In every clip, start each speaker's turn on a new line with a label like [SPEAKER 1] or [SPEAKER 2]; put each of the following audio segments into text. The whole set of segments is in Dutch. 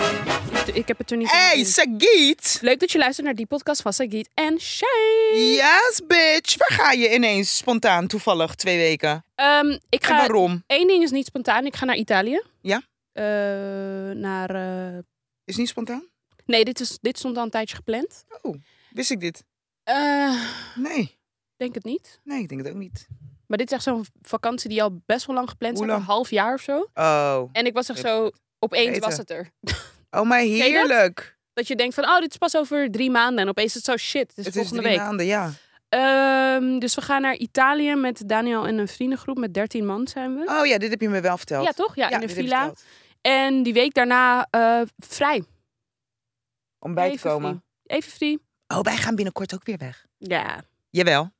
[SPEAKER 1] het, ik heb het er niet in
[SPEAKER 2] Hey,
[SPEAKER 1] gezien.
[SPEAKER 2] Sagiet!
[SPEAKER 1] Leuk dat je luistert naar die podcast van Sagiet en Shay.
[SPEAKER 2] Yes, bitch! Waar ga je ineens spontaan toevallig twee weken?
[SPEAKER 1] Ehm, ik
[SPEAKER 2] En
[SPEAKER 1] ga...
[SPEAKER 2] waarom?
[SPEAKER 1] Eén ding is niet spontaan. Ik ga naar Italië.
[SPEAKER 2] Ja?
[SPEAKER 1] Eh, naar... eh,
[SPEAKER 2] Is niet spontaan?
[SPEAKER 1] Nee, dit, is, dit stond al een tijdje gepland.
[SPEAKER 2] Wist ik dit?
[SPEAKER 1] Eh,
[SPEAKER 2] Nee.
[SPEAKER 1] denk het niet.
[SPEAKER 2] Nee, ik denk het ook niet.
[SPEAKER 1] Maar dit is echt zo'n vakantie die al best wel lang gepland is.
[SPEAKER 2] Hoe
[SPEAKER 1] Een
[SPEAKER 2] lang?
[SPEAKER 1] half jaar of zo.
[SPEAKER 2] Oh.
[SPEAKER 1] En ik was echt
[SPEAKER 2] Heb-
[SPEAKER 1] zo... Opeens
[SPEAKER 2] Eten.
[SPEAKER 1] was het er.
[SPEAKER 2] Oh, maar
[SPEAKER 1] dat?
[SPEAKER 2] heerlijk.
[SPEAKER 1] Dat je denkt van, oh, dit is pas over drie maanden. En opeens is het zo, shit, het is
[SPEAKER 2] Het is
[SPEAKER 1] volgende
[SPEAKER 2] drie
[SPEAKER 1] week.
[SPEAKER 2] maanden, ja.
[SPEAKER 1] Ehm, dus we gaan naar Italië met Daniel en een vriendengroep. Met 13 man zijn we.
[SPEAKER 2] Oh ja, dit heb je me wel verteld.
[SPEAKER 1] ja, toch? Ja, in een
[SPEAKER 2] dit heb je
[SPEAKER 1] villa.
[SPEAKER 2] verteld.
[SPEAKER 1] En die week daarna eh, vrij.
[SPEAKER 2] Om bij te
[SPEAKER 1] Even
[SPEAKER 2] komen.
[SPEAKER 1] Free. Even free.
[SPEAKER 2] Oh, wij gaan binnenkort ook weer weg.
[SPEAKER 1] Ja,
[SPEAKER 2] Jawel.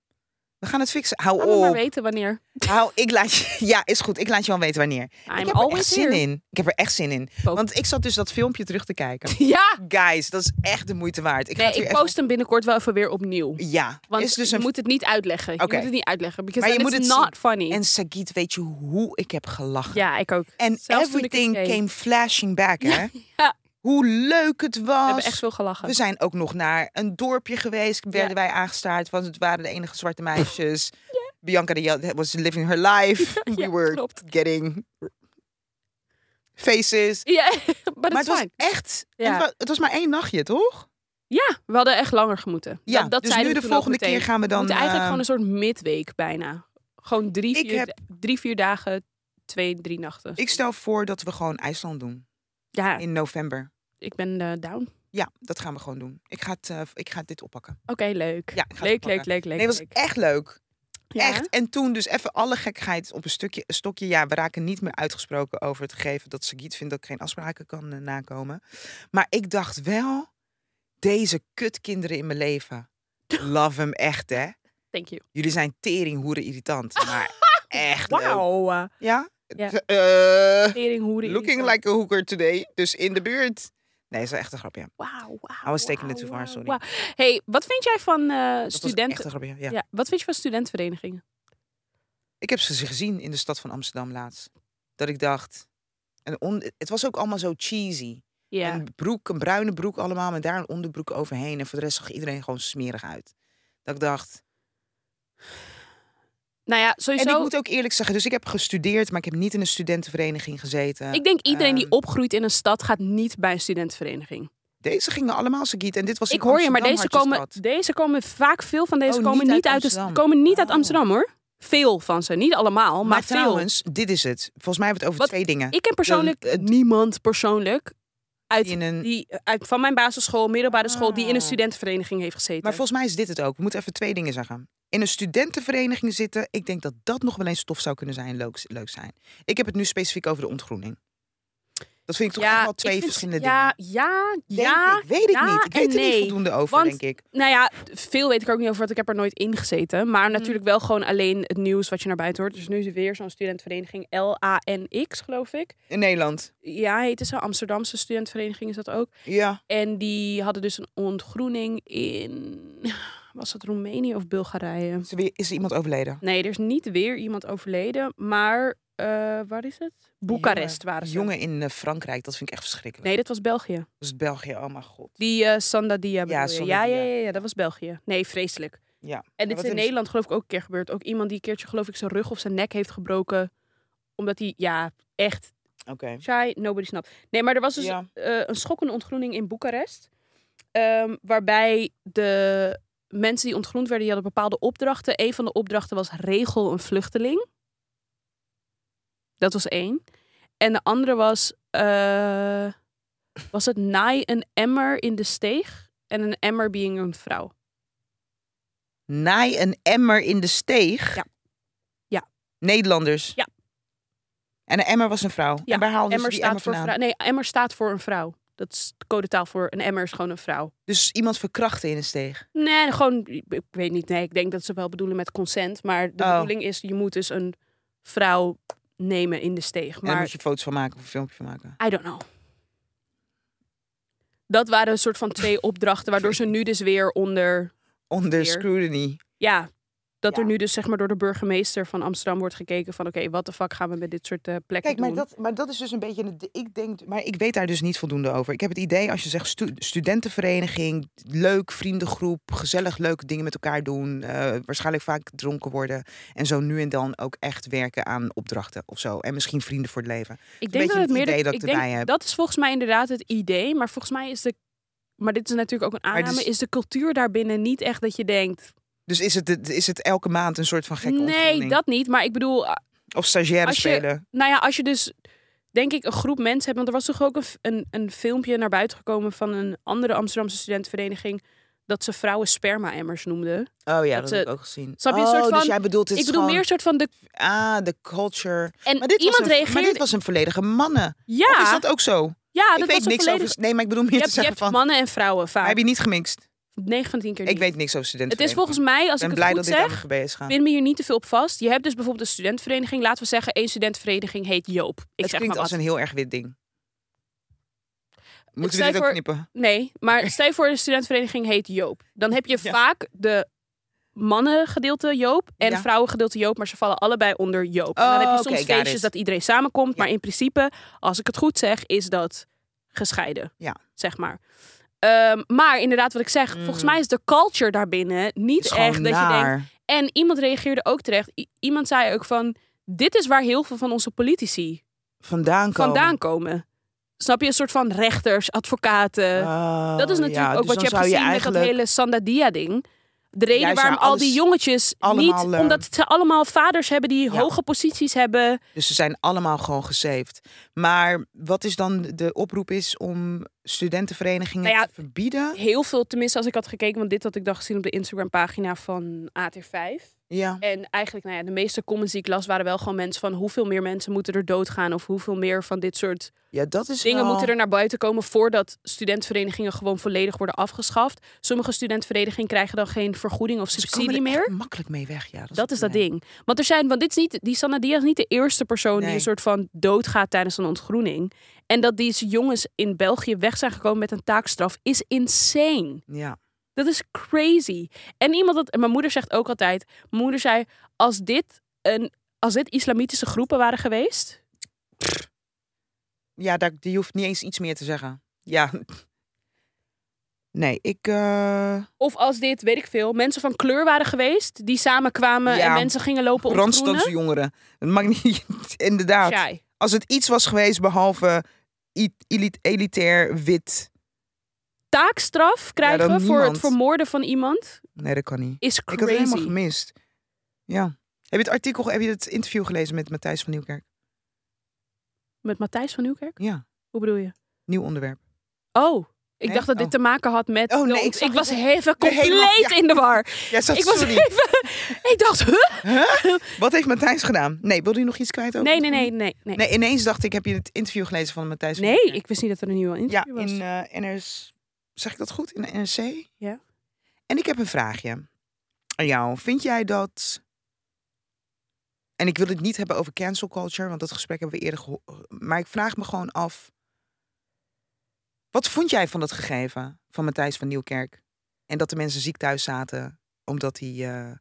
[SPEAKER 2] We gaan het fixen. Hou
[SPEAKER 1] laat me maar
[SPEAKER 2] op.
[SPEAKER 1] weten wanneer.
[SPEAKER 2] Hou, ik laat je, ja, is goed. Ik laat je wel weten wanneer. ik
[SPEAKER 1] I'm
[SPEAKER 2] heb er echt
[SPEAKER 1] always
[SPEAKER 2] zin
[SPEAKER 1] here.
[SPEAKER 2] in. Ik heb er echt zin in.
[SPEAKER 1] Post.
[SPEAKER 2] Want ik zat dus dat filmpje terug te kijken.
[SPEAKER 1] Ja,
[SPEAKER 2] Guys, dat is echt de moeite waard. Ik ga
[SPEAKER 1] nee,
[SPEAKER 2] het
[SPEAKER 1] ik
[SPEAKER 2] weer
[SPEAKER 1] post hem binnenkort wel even weer opnieuw.
[SPEAKER 2] Even... Ja,
[SPEAKER 1] Want
[SPEAKER 2] is dus
[SPEAKER 1] je
[SPEAKER 2] een...
[SPEAKER 1] moet het niet uitleggen. Je
[SPEAKER 2] Oké.
[SPEAKER 1] moet het niet uitleggen. Because
[SPEAKER 2] Maar je
[SPEAKER 1] then
[SPEAKER 2] moet
[SPEAKER 1] it's
[SPEAKER 2] het
[SPEAKER 1] not funny.
[SPEAKER 2] En Sagit, weet je hoe ik heb gelachen?
[SPEAKER 1] Ja, ik ook.
[SPEAKER 2] En
[SPEAKER 1] Zelfs toen ik het
[SPEAKER 2] everything
[SPEAKER 1] deed.
[SPEAKER 2] came flashing back, hè?
[SPEAKER 1] ja.
[SPEAKER 2] Hoe leuk het was.
[SPEAKER 1] We hebben echt veel gelachen.
[SPEAKER 2] We zijn ook nog naar een dorpje geweest. Werden wij aangestaard. Want het waren de enige zwarte meisjes. Bianca de Jel was living her life. We
[SPEAKER 1] ja,
[SPEAKER 2] were
[SPEAKER 1] klopt.
[SPEAKER 2] getting faces.
[SPEAKER 1] Ja, maar
[SPEAKER 2] maar
[SPEAKER 1] dat
[SPEAKER 2] het
[SPEAKER 1] is
[SPEAKER 2] was
[SPEAKER 1] fijn.
[SPEAKER 2] echt... en
[SPEAKER 1] Ja.
[SPEAKER 2] Het, was, het was maar één nachtje, toch?
[SPEAKER 1] Ja, we hadden echt langer gemoeten.
[SPEAKER 2] Ja,
[SPEAKER 1] dat, dat
[SPEAKER 2] dus
[SPEAKER 1] zeiden
[SPEAKER 2] nu
[SPEAKER 1] we
[SPEAKER 2] de
[SPEAKER 1] toen ook
[SPEAKER 2] volgende keer
[SPEAKER 1] meteen.
[SPEAKER 2] gaan we
[SPEAKER 1] We
[SPEAKER 2] dan...
[SPEAKER 1] moeten eigenlijk
[SPEAKER 2] eh,
[SPEAKER 1] gewoon een soort midweek bijna. Gewoon drie
[SPEAKER 2] Ik
[SPEAKER 1] vier,
[SPEAKER 2] heb-
[SPEAKER 1] drie, vier dagen, twee, drie nachten.
[SPEAKER 2] Ik stel voor dat we gewoon IJsland doen.
[SPEAKER 1] ja,
[SPEAKER 2] In november.
[SPEAKER 1] ik ben eh, down. Oké,
[SPEAKER 2] Ja, dat gaan we gewoon doen. Ik ga, het, eh, ik ga dit oppakken.
[SPEAKER 1] leuk.
[SPEAKER 2] Ja, ik ga het
[SPEAKER 1] leuk, leuk,
[SPEAKER 2] oppakken.
[SPEAKER 1] leuk, leuk.
[SPEAKER 2] nee, het was
[SPEAKER 1] leuk.
[SPEAKER 2] echt leuk.
[SPEAKER 1] Ja?
[SPEAKER 2] Echt. En toen dus even alle gekheid op een stukje, een stokje. Ja, we raken niet meer uitgesproken over het gegeven dat Sagiet vindt dat ik geen afspraken kan eh, nakomen. Maar ik dacht wel, deze kutkinderen in mijn leven. Love hem echt, hè?
[SPEAKER 1] Thank you.
[SPEAKER 2] Jullie zijn teringhoeren irritant. Maar echt leuk.
[SPEAKER 1] Wauw. eh,
[SPEAKER 2] Ja?
[SPEAKER 1] Ja.
[SPEAKER 2] Eh,
[SPEAKER 1] teringhoeren.
[SPEAKER 2] looking
[SPEAKER 1] irritant.
[SPEAKER 2] like a hooker today. Dus in de buurt. Nee, is wel echt een grapje.
[SPEAKER 1] Wauw, wauw.
[SPEAKER 2] I was taking
[SPEAKER 1] wauw,
[SPEAKER 2] it too far,
[SPEAKER 1] wauw,
[SPEAKER 2] sorry.
[SPEAKER 1] wauw. hey, wat vind jij van eh,
[SPEAKER 2] Dat was echt
[SPEAKER 1] studenten...
[SPEAKER 2] een grapje, ja.
[SPEAKER 1] ja. wat vind je van studentenverenigingen?
[SPEAKER 2] Ik heb ze gezien in de stad van Amsterdam laatst. Dat ik dacht... En on, het was ook allemaal zo cheesy.
[SPEAKER 1] Ja.
[SPEAKER 2] Een broek, een bruine broek allemaal, met daar een onderbroek overheen. En voor de rest zag iedereen gewoon smerig uit. Dat ik dacht...
[SPEAKER 1] Nou ja, sowieso...
[SPEAKER 2] En ik moet ook eerlijk zeggen, dus ik heb gestudeerd... maar ik heb niet in een studentenvereniging gezeten.
[SPEAKER 1] Ik denk iedereen die
[SPEAKER 2] Ehm,
[SPEAKER 1] opgroeit in een stad gaat niet bij een studentenvereniging.
[SPEAKER 2] Deze gingen allemaal Sagiet. En dit was
[SPEAKER 1] Ik
[SPEAKER 2] in
[SPEAKER 1] hoor je, maar deze
[SPEAKER 2] Amsterdam,
[SPEAKER 1] komen,
[SPEAKER 2] Hartjestad.
[SPEAKER 1] deze komen vaak veel van deze
[SPEAKER 2] Oh,
[SPEAKER 1] komen
[SPEAKER 2] niet
[SPEAKER 1] niet,
[SPEAKER 2] uit
[SPEAKER 1] uit, de, st-
[SPEAKER 2] Amsterdam.
[SPEAKER 1] komen niet uit
[SPEAKER 2] Oh.
[SPEAKER 1] Amsterdam hoor. Veel van ze, niet allemaal, maar,
[SPEAKER 2] Maar
[SPEAKER 1] veel.
[SPEAKER 2] trouwens, dit is het. Volgens mij hebben we het over
[SPEAKER 1] Wat
[SPEAKER 2] twee dingen.
[SPEAKER 1] ik ken persoonlijk
[SPEAKER 2] het-
[SPEAKER 1] niemand persoonlijk uit,
[SPEAKER 2] Die in een-
[SPEAKER 1] die, eh, uit, van mijn basisschool, middelbare school, die in een
[SPEAKER 2] Ah.
[SPEAKER 1] studentenvereniging heeft gezeten.
[SPEAKER 2] Maar volgens mij is dit het ook. We moeten even twee dingen zeggen. In een studentenvereniging zitten, ik denk dat dat nog wel eens tof zou kunnen zijn, leuk, leuk zijn. Ik heb het nu specifiek over de ontgroening. Dat vind ik toch echt wel twee
[SPEAKER 1] ik vind-
[SPEAKER 2] verschillende
[SPEAKER 1] ja,
[SPEAKER 2] dingen.
[SPEAKER 1] Ja,
[SPEAKER 2] Denk
[SPEAKER 1] ja,
[SPEAKER 2] ik, weet ik
[SPEAKER 1] ja
[SPEAKER 2] niet. Ik
[SPEAKER 1] en
[SPEAKER 2] weet er niet
[SPEAKER 1] nee.
[SPEAKER 2] voldoende over,
[SPEAKER 1] Want-
[SPEAKER 2] denk ik.
[SPEAKER 1] Nou ja, veel weet ik er ook niet over, want ik heb er nooit in gezeten.
[SPEAKER 2] Mm.
[SPEAKER 1] Maar natuurlijk wel gewoon alleen het nieuws wat je naar buiten hoort. Dus nu is er weer zo'n studentenvereniging LANX, geloof ik.
[SPEAKER 2] In Nederland.
[SPEAKER 1] Ja, heette ze. Amsterdamse studentenvereniging is dat ook.
[SPEAKER 2] Ja.
[SPEAKER 1] En die hadden dus een ontgroening in... Was dat Roemenië of Bulgarije?
[SPEAKER 2] Is er, weer- is er iemand overleden?
[SPEAKER 1] Nee, er is niet weer iemand overleden. Maar, eh waar is het? Boekarest waren ze.
[SPEAKER 2] Jongen in eh, Frankrijk, dat vind ik echt verschrikkelijk.
[SPEAKER 1] Nee, dat was België.
[SPEAKER 2] Dat is België, oh mijn god.
[SPEAKER 1] Die eh, Sandadia bedoel je?
[SPEAKER 2] Sandadia.
[SPEAKER 1] Ja, ja, ja, ja, dat was België. Nee, vreselijk.
[SPEAKER 2] Ja.
[SPEAKER 1] En
[SPEAKER 2] wat
[SPEAKER 1] dit is
[SPEAKER 2] hebben ze-
[SPEAKER 1] in Nederland geloof ik ook een keer gebeurd. Ook iemand die een keertje geloof ik zijn rug of zijn nek heeft gebroken. Omdat hij, ja, echt,
[SPEAKER 2] Oké.
[SPEAKER 1] shy, nobody snapt. Nee, maar er was dus
[SPEAKER 2] Ja.
[SPEAKER 1] eh, een schokkende ontgroening in Boekarest. ehm, waarbij de mensen die ontgroend werden, die hadden bepaalde opdrachten. Een van de opdrachten was regel een vluchteling. Dat was één. En de andere was, eh, was het naai een emmer in de steeg en een emmer being een vrouw.
[SPEAKER 2] Naai een emmer in de steeg.
[SPEAKER 1] Ja. Ja.
[SPEAKER 2] Nederlanders.
[SPEAKER 1] Ja.
[SPEAKER 2] En een emmer was een vrouw.
[SPEAKER 1] Ja,
[SPEAKER 2] En waar haalden ze
[SPEAKER 1] Emmer
[SPEAKER 2] die
[SPEAKER 1] staat
[SPEAKER 2] emmer
[SPEAKER 1] voor
[SPEAKER 2] vandaan?
[SPEAKER 1] vrouw. Nee, emmer staat voor een vrouw. Dat is de codetaal voor een emmer is gewoon een vrouw.
[SPEAKER 2] Dus iemand verkrachten in een steeg.
[SPEAKER 1] Nee, gewoon, ik ik weet niet. Nee, ik denk dat ze wel bedoelen met consent. Maar de
[SPEAKER 2] Oh.
[SPEAKER 1] bedoeling is, je moet dus een vrouw nemen in de steeg.
[SPEAKER 2] En daar
[SPEAKER 1] Maar
[SPEAKER 2] moet je foto's van maken of een filmpje van maken.
[SPEAKER 1] I don't know. Dat waren een soort van twee opdrachten, waardoor ze nu dus weer onder...
[SPEAKER 2] Onder
[SPEAKER 1] Weer.
[SPEAKER 2] scrutiny.
[SPEAKER 1] Ja, dat er
[SPEAKER 2] Ja.
[SPEAKER 1] nu dus zeg maar door de burgemeester van Amsterdam wordt gekeken van oké, wat de fuck gaan we met dit soort eh, plekken
[SPEAKER 2] Kijk, maar
[SPEAKER 1] doen?
[SPEAKER 2] dat, maar dat is dus een beetje. het- Ik denk, maar ik weet daar dus niet voldoende over. Ik heb het idee als je zegt stu- studentenvereniging, leuk vriendengroep, gezellig leuke dingen met elkaar doen, eh, waarschijnlijk vaak dronken worden en zo nu en dan ook echt werken aan opdrachten of zo en misschien vrienden voor het leven.
[SPEAKER 1] ik
[SPEAKER 2] beetje het
[SPEAKER 1] de-
[SPEAKER 2] idee dat ik
[SPEAKER 1] denk,
[SPEAKER 2] erbij heb.
[SPEAKER 1] Dat is volgens mij inderdaad het idee, maar volgens mij is de maar dit is natuurlijk ook een
[SPEAKER 2] Maar
[SPEAKER 1] aanname,
[SPEAKER 2] dus-
[SPEAKER 1] is de cultuur daarbinnen niet echt dat je denkt.
[SPEAKER 2] Dus is het, het- is het elke maand een soort van gekke
[SPEAKER 1] nee,
[SPEAKER 2] ontgroening?
[SPEAKER 1] dat niet, maar ik bedoel
[SPEAKER 2] of stagiaire
[SPEAKER 1] als je-
[SPEAKER 2] spelen?
[SPEAKER 1] nou ja, als je dus denk ik een groep mensen hebt, want er was toch ook een, f- een, een filmpje naar buiten gekomen van een andere Amsterdamse studentenvereniging dat ze vrouwen sperma-emmers noemden.
[SPEAKER 2] Oh
[SPEAKER 1] dat
[SPEAKER 2] ja, dat,
[SPEAKER 1] ze-
[SPEAKER 2] heb ik ook gezien.
[SPEAKER 1] eh, Snap je, een
[SPEAKER 2] oh,
[SPEAKER 1] soort
[SPEAKER 2] dus
[SPEAKER 1] van-
[SPEAKER 2] jij bedoelt dit
[SPEAKER 1] Ik
[SPEAKER 2] is
[SPEAKER 1] bedoel
[SPEAKER 2] gewoon,
[SPEAKER 1] meer soort van de
[SPEAKER 2] ah de culture.
[SPEAKER 1] en
[SPEAKER 2] Maar dit
[SPEAKER 1] iemand
[SPEAKER 2] was een,
[SPEAKER 1] reageerde.
[SPEAKER 2] Maar dit was een volledige mannen.
[SPEAKER 1] ja,
[SPEAKER 2] Of is dat ook zo?
[SPEAKER 1] ja,
[SPEAKER 2] ik
[SPEAKER 1] dat
[SPEAKER 2] weet
[SPEAKER 1] was een
[SPEAKER 2] niks
[SPEAKER 1] volledig-
[SPEAKER 2] over. Nee, maar ik bedoel meer
[SPEAKER 1] Je
[SPEAKER 2] te
[SPEAKER 1] hebt, je
[SPEAKER 2] zeggen
[SPEAKER 1] hebt
[SPEAKER 2] van.
[SPEAKER 1] mannen en vrouwen
[SPEAKER 2] Maar
[SPEAKER 1] vaak.
[SPEAKER 2] heb je niet gemixt?
[SPEAKER 1] 9 van 10 keer
[SPEAKER 2] Ik
[SPEAKER 1] niet.
[SPEAKER 2] weet niks over studenten.
[SPEAKER 1] Het is volgens mij, als
[SPEAKER 2] ik ben
[SPEAKER 1] ik
[SPEAKER 2] blij
[SPEAKER 1] het
[SPEAKER 2] dat
[SPEAKER 1] goed
[SPEAKER 2] dit aan
[SPEAKER 1] zeg,
[SPEAKER 2] de GB is gaan.
[SPEAKER 1] pin me hier niet te veel op vast. Je hebt dus bijvoorbeeld een studentenvereniging. Laten we zeggen, één studentenvereniging heet Joop. Ik
[SPEAKER 2] het
[SPEAKER 1] zeg
[SPEAKER 2] klinkt
[SPEAKER 1] maar
[SPEAKER 2] als
[SPEAKER 1] wat.
[SPEAKER 2] een heel erg wit ding. Moeten we
[SPEAKER 1] stel
[SPEAKER 2] dit
[SPEAKER 1] je
[SPEAKER 2] ook
[SPEAKER 1] voor-
[SPEAKER 2] knippen?
[SPEAKER 1] Nee, maar stel je voor, de studentenvereniging heet Joop. Dan heb je
[SPEAKER 2] Ja.
[SPEAKER 1] vaak de mannengedeelte Joop en
[SPEAKER 2] Ja.
[SPEAKER 1] vrouwengedeelte Joop, maar ze vallen allebei onder Joop. en
[SPEAKER 2] Oh,
[SPEAKER 1] dan heb je
[SPEAKER 2] oké,
[SPEAKER 1] soms
[SPEAKER 2] got
[SPEAKER 1] feestjes
[SPEAKER 2] it.
[SPEAKER 1] dat iedereen samenkomt,
[SPEAKER 2] Ja.
[SPEAKER 1] maar in principe, als ik het goed zeg, is dat gescheiden.
[SPEAKER 2] Ja.
[SPEAKER 1] Zeg maar. Ehm, maar inderdaad, wat ik zeg,
[SPEAKER 2] Mm.
[SPEAKER 1] volgens mij is de culture daarbinnen niet
[SPEAKER 2] Het is
[SPEAKER 1] echt
[SPEAKER 2] gewoon
[SPEAKER 1] dat je denkt.
[SPEAKER 2] naar.
[SPEAKER 1] En iemand reageerde ook terecht. I- iemand zei ook van, dit is waar heel veel van onze politici
[SPEAKER 2] vandaan komen.
[SPEAKER 1] vandaan komen. Snap je? Een soort van rechters, advocaten.
[SPEAKER 2] Oh,
[SPEAKER 1] Dat is natuurlijk
[SPEAKER 2] ja,
[SPEAKER 1] ook
[SPEAKER 2] dus
[SPEAKER 1] wat je
[SPEAKER 2] dan
[SPEAKER 1] hebt
[SPEAKER 2] zou
[SPEAKER 1] gezien met
[SPEAKER 2] eigenlijk...
[SPEAKER 1] dat hele Sandadia-ding. De reden
[SPEAKER 2] Juist,
[SPEAKER 1] waarom
[SPEAKER 2] ja,
[SPEAKER 1] al
[SPEAKER 2] alles-
[SPEAKER 1] die jongetjes
[SPEAKER 2] allemaal,
[SPEAKER 1] niet...
[SPEAKER 2] eh,
[SPEAKER 1] Omdat ze allemaal vaders hebben die
[SPEAKER 2] Ja.
[SPEAKER 1] hoge posities hebben.
[SPEAKER 2] Dus ze zijn allemaal gewoon gesaved. Maar wat is dan de oproep is om studentenverenigingen
[SPEAKER 1] Nou ja,
[SPEAKER 2] te verbieden?
[SPEAKER 1] Heel veel, tenminste als ik had gekeken... Want dit had ik dan gezien op de Instagram-pagina van AT5.
[SPEAKER 2] Ja.
[SPEAKER 1] En eigenlijk, nou ja, de meeste comments die ik las waren wel gewoon mensen van... Hoeveel meer mensen moeten er doodgaan? Of hoeveel meer van dit soort
[SPEAKER 2] ja, dat is
[SPEAKER 1] dingen
[SPEAKER 2] wel-
[SPEAKER 1] moeten er naar buiten komen... voordat studentverenigingen gewoon volledig worden afgeschaft. Sommige studentverenigingen krijgen dan geen vergoeding of
[SPEAKER 2] Ze komen
[SPEAKER 1] subsidie
[SPEAKER 2] er
[SPEAKER 1] meer.
[SPEAKER 2] echt makkelijk mee weg, ja.
[SPEAKER 1] Dat is
[SPEAKER 2] het
[SPEAKER 1] dat ding. Want er zijn, want dit is niet, die Sanna Diaz is niet de eerste persoon die
[SPEAKER 2] Nee.
[SPEAKER 1] een soort van doodgaat tijdens een ontgroening. En dat deze jongens in België weg zijn gekomen met een taakstraf is insane.
[SPEAKER 2] Ja.
[SPEAKER 1] Dat is crazy. En iemand dat, en mijn moeder zegt ook altijd, mijn moeder zei, als dit een, als dit islamitische groepen waren geweest,
[SPEAKER 2] Ja, daar, die hoeft niet eens iets meer te zeggen. Ja. Nee, ik... eh,
[SPEAKER 1] of als dit, weet ik veel, mensen van kleur waren geweest, die samen kwamen en
[SPEAKER 2] Ja.
[SPEAKER 1] mensen gingen lopen ontgroenen.
[SPEAKER 2] Randstadse jongeren. Het mag niet. Inderdaad.
[SPEAKER 1] Shy.
[SPEAKER 2] Als het iets was geweest behalve i- elit- elitair wit.
[SPEAKER 1] Taakstraf krijgen
[SPEAKER 2] dan
[SPEAKER 1] we voor het
[SPEAKER 2] niemand.
[SPEAKER 1] vermoorden van iemand
[SPEAKER 2] Nee, dat kan niet.
[SPEAKER 1] is
[SPEAKER 2] Ik
[SPEAKER 1] crazy.
[SPEAKER 2] had het helemaal gemist. Ja. Heb je het artikel, heb je het interview gelezen met Matthijs van Nieuwkerk?
[SPEAKER 1] Met Matthijs van Nieuwkerk?
[SPEAKER 2] Ja.
[SPEAKER 1] Hoe bedoel je?
[SPEAKER 2] Nieuw onderwerp.
[SPEAKER 1] Oh, ik
[SPEAKER 2] Nee?
[SPEAKER 1] dacht dat dit
[SPEAKER 2] Oh.
[SPEAKER 1] te maken had met...
[SPEAKER 2] Oh,
[SPEAKER 1] de
[SPEAKER 2] nee,
[SPEAKER 1] ont-
[SPEAKER 2] ik zag
[SPEAKER 1] was
[SPEAKER 2] het-
[SPEAKER 1] even
[SPEAKER 2] de hele-
[SPEAKER 1] compleet
[SPEAKER 2] ja.
[SPEAKER 1] in de war.
[SPEAKER 2] Jij zat,
[SPEAKER 1] Ik was
[SPEAKER 2] sorry.
[SPEAKER 1] even... Ik dacht, huh?
[SPEAKER 2] Huh? Wat heeft Matthijs gedaan? Nee, wilde je nog iets kwijt over?
[SPEAKER 1] Nee,
[SPEAKER 2] het
[SPEAKER 1] nee, nee,
[SPEAKER 2] onderwerp?
[SPEAKER 1] nee. Nee,
[SPEAKER 2] Nee, ineens dacht ik, heb je het interview gelezen van Matthijs van
[SPEAKER 1] Nee,
[SPEAKER 2] Nieuwkerk?
[SPEAKER 1] ik wist niet dat er een nieuwe
[SPEAKER 2] Ja,
[SPEAKER 1] interview was.
[SPEAKER 2] in eh NRC. Zeg ik dat goed? In de NRC?
[SPEAKER 1] Ja.
[SPEAKER 2] En ik heb een vraagje aan jou. Vind jij dat... En ik wil het niet hebben over cancel culture, want dat gesprek hebben we eerder gehoord. Maar ik vraag me gewoon af... Wat vond jij van dat gegeven van Matthijs van Nieuwkerk? En dat de mensen ziek thuis zaten, omdat hij... eh,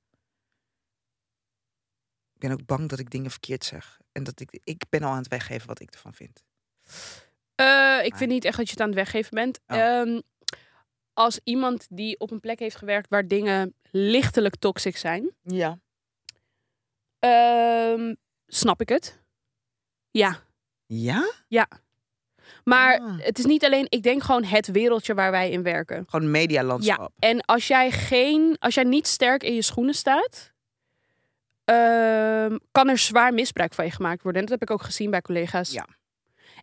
[SPEAKER 2] Ik ben ook bang dat ik dingen verkeerd zeg. En dat ik... Ik ben al aan het weggeven wat ik ervan vind.
[SPEAKER 1] Eh, ik vind niet echt dat je het aan het weggeven bent.
[SPEAKER 2] Oh.
[SPEAKER 1] Ehm, als iemand die op een plek heeft gewerkt waar dingen lichtelijk toxic zijn,
[SPEAKER 2] Ja.
[SPEAKER 1] ehm, snap ik het. Ja,
[SPEAKER 2] Ja?
[SPEAKER 1] maar
[SPEAKER 2] Ah.
[SPEAKER 1] het is niet alleen... Ik denk gewoon het wereldje waar wij in werken.
[SPEAKER 2] Gewoon medialandschap.
[SPEAKER 1] Ja, en als jij, geen, als jij niet sterk in je schoenen staat, ehm, kan er zwaar misbruik van je gemaakt worden. En dat heb ik ook gezien bij collega's.
[SPEAKER 2] Ja.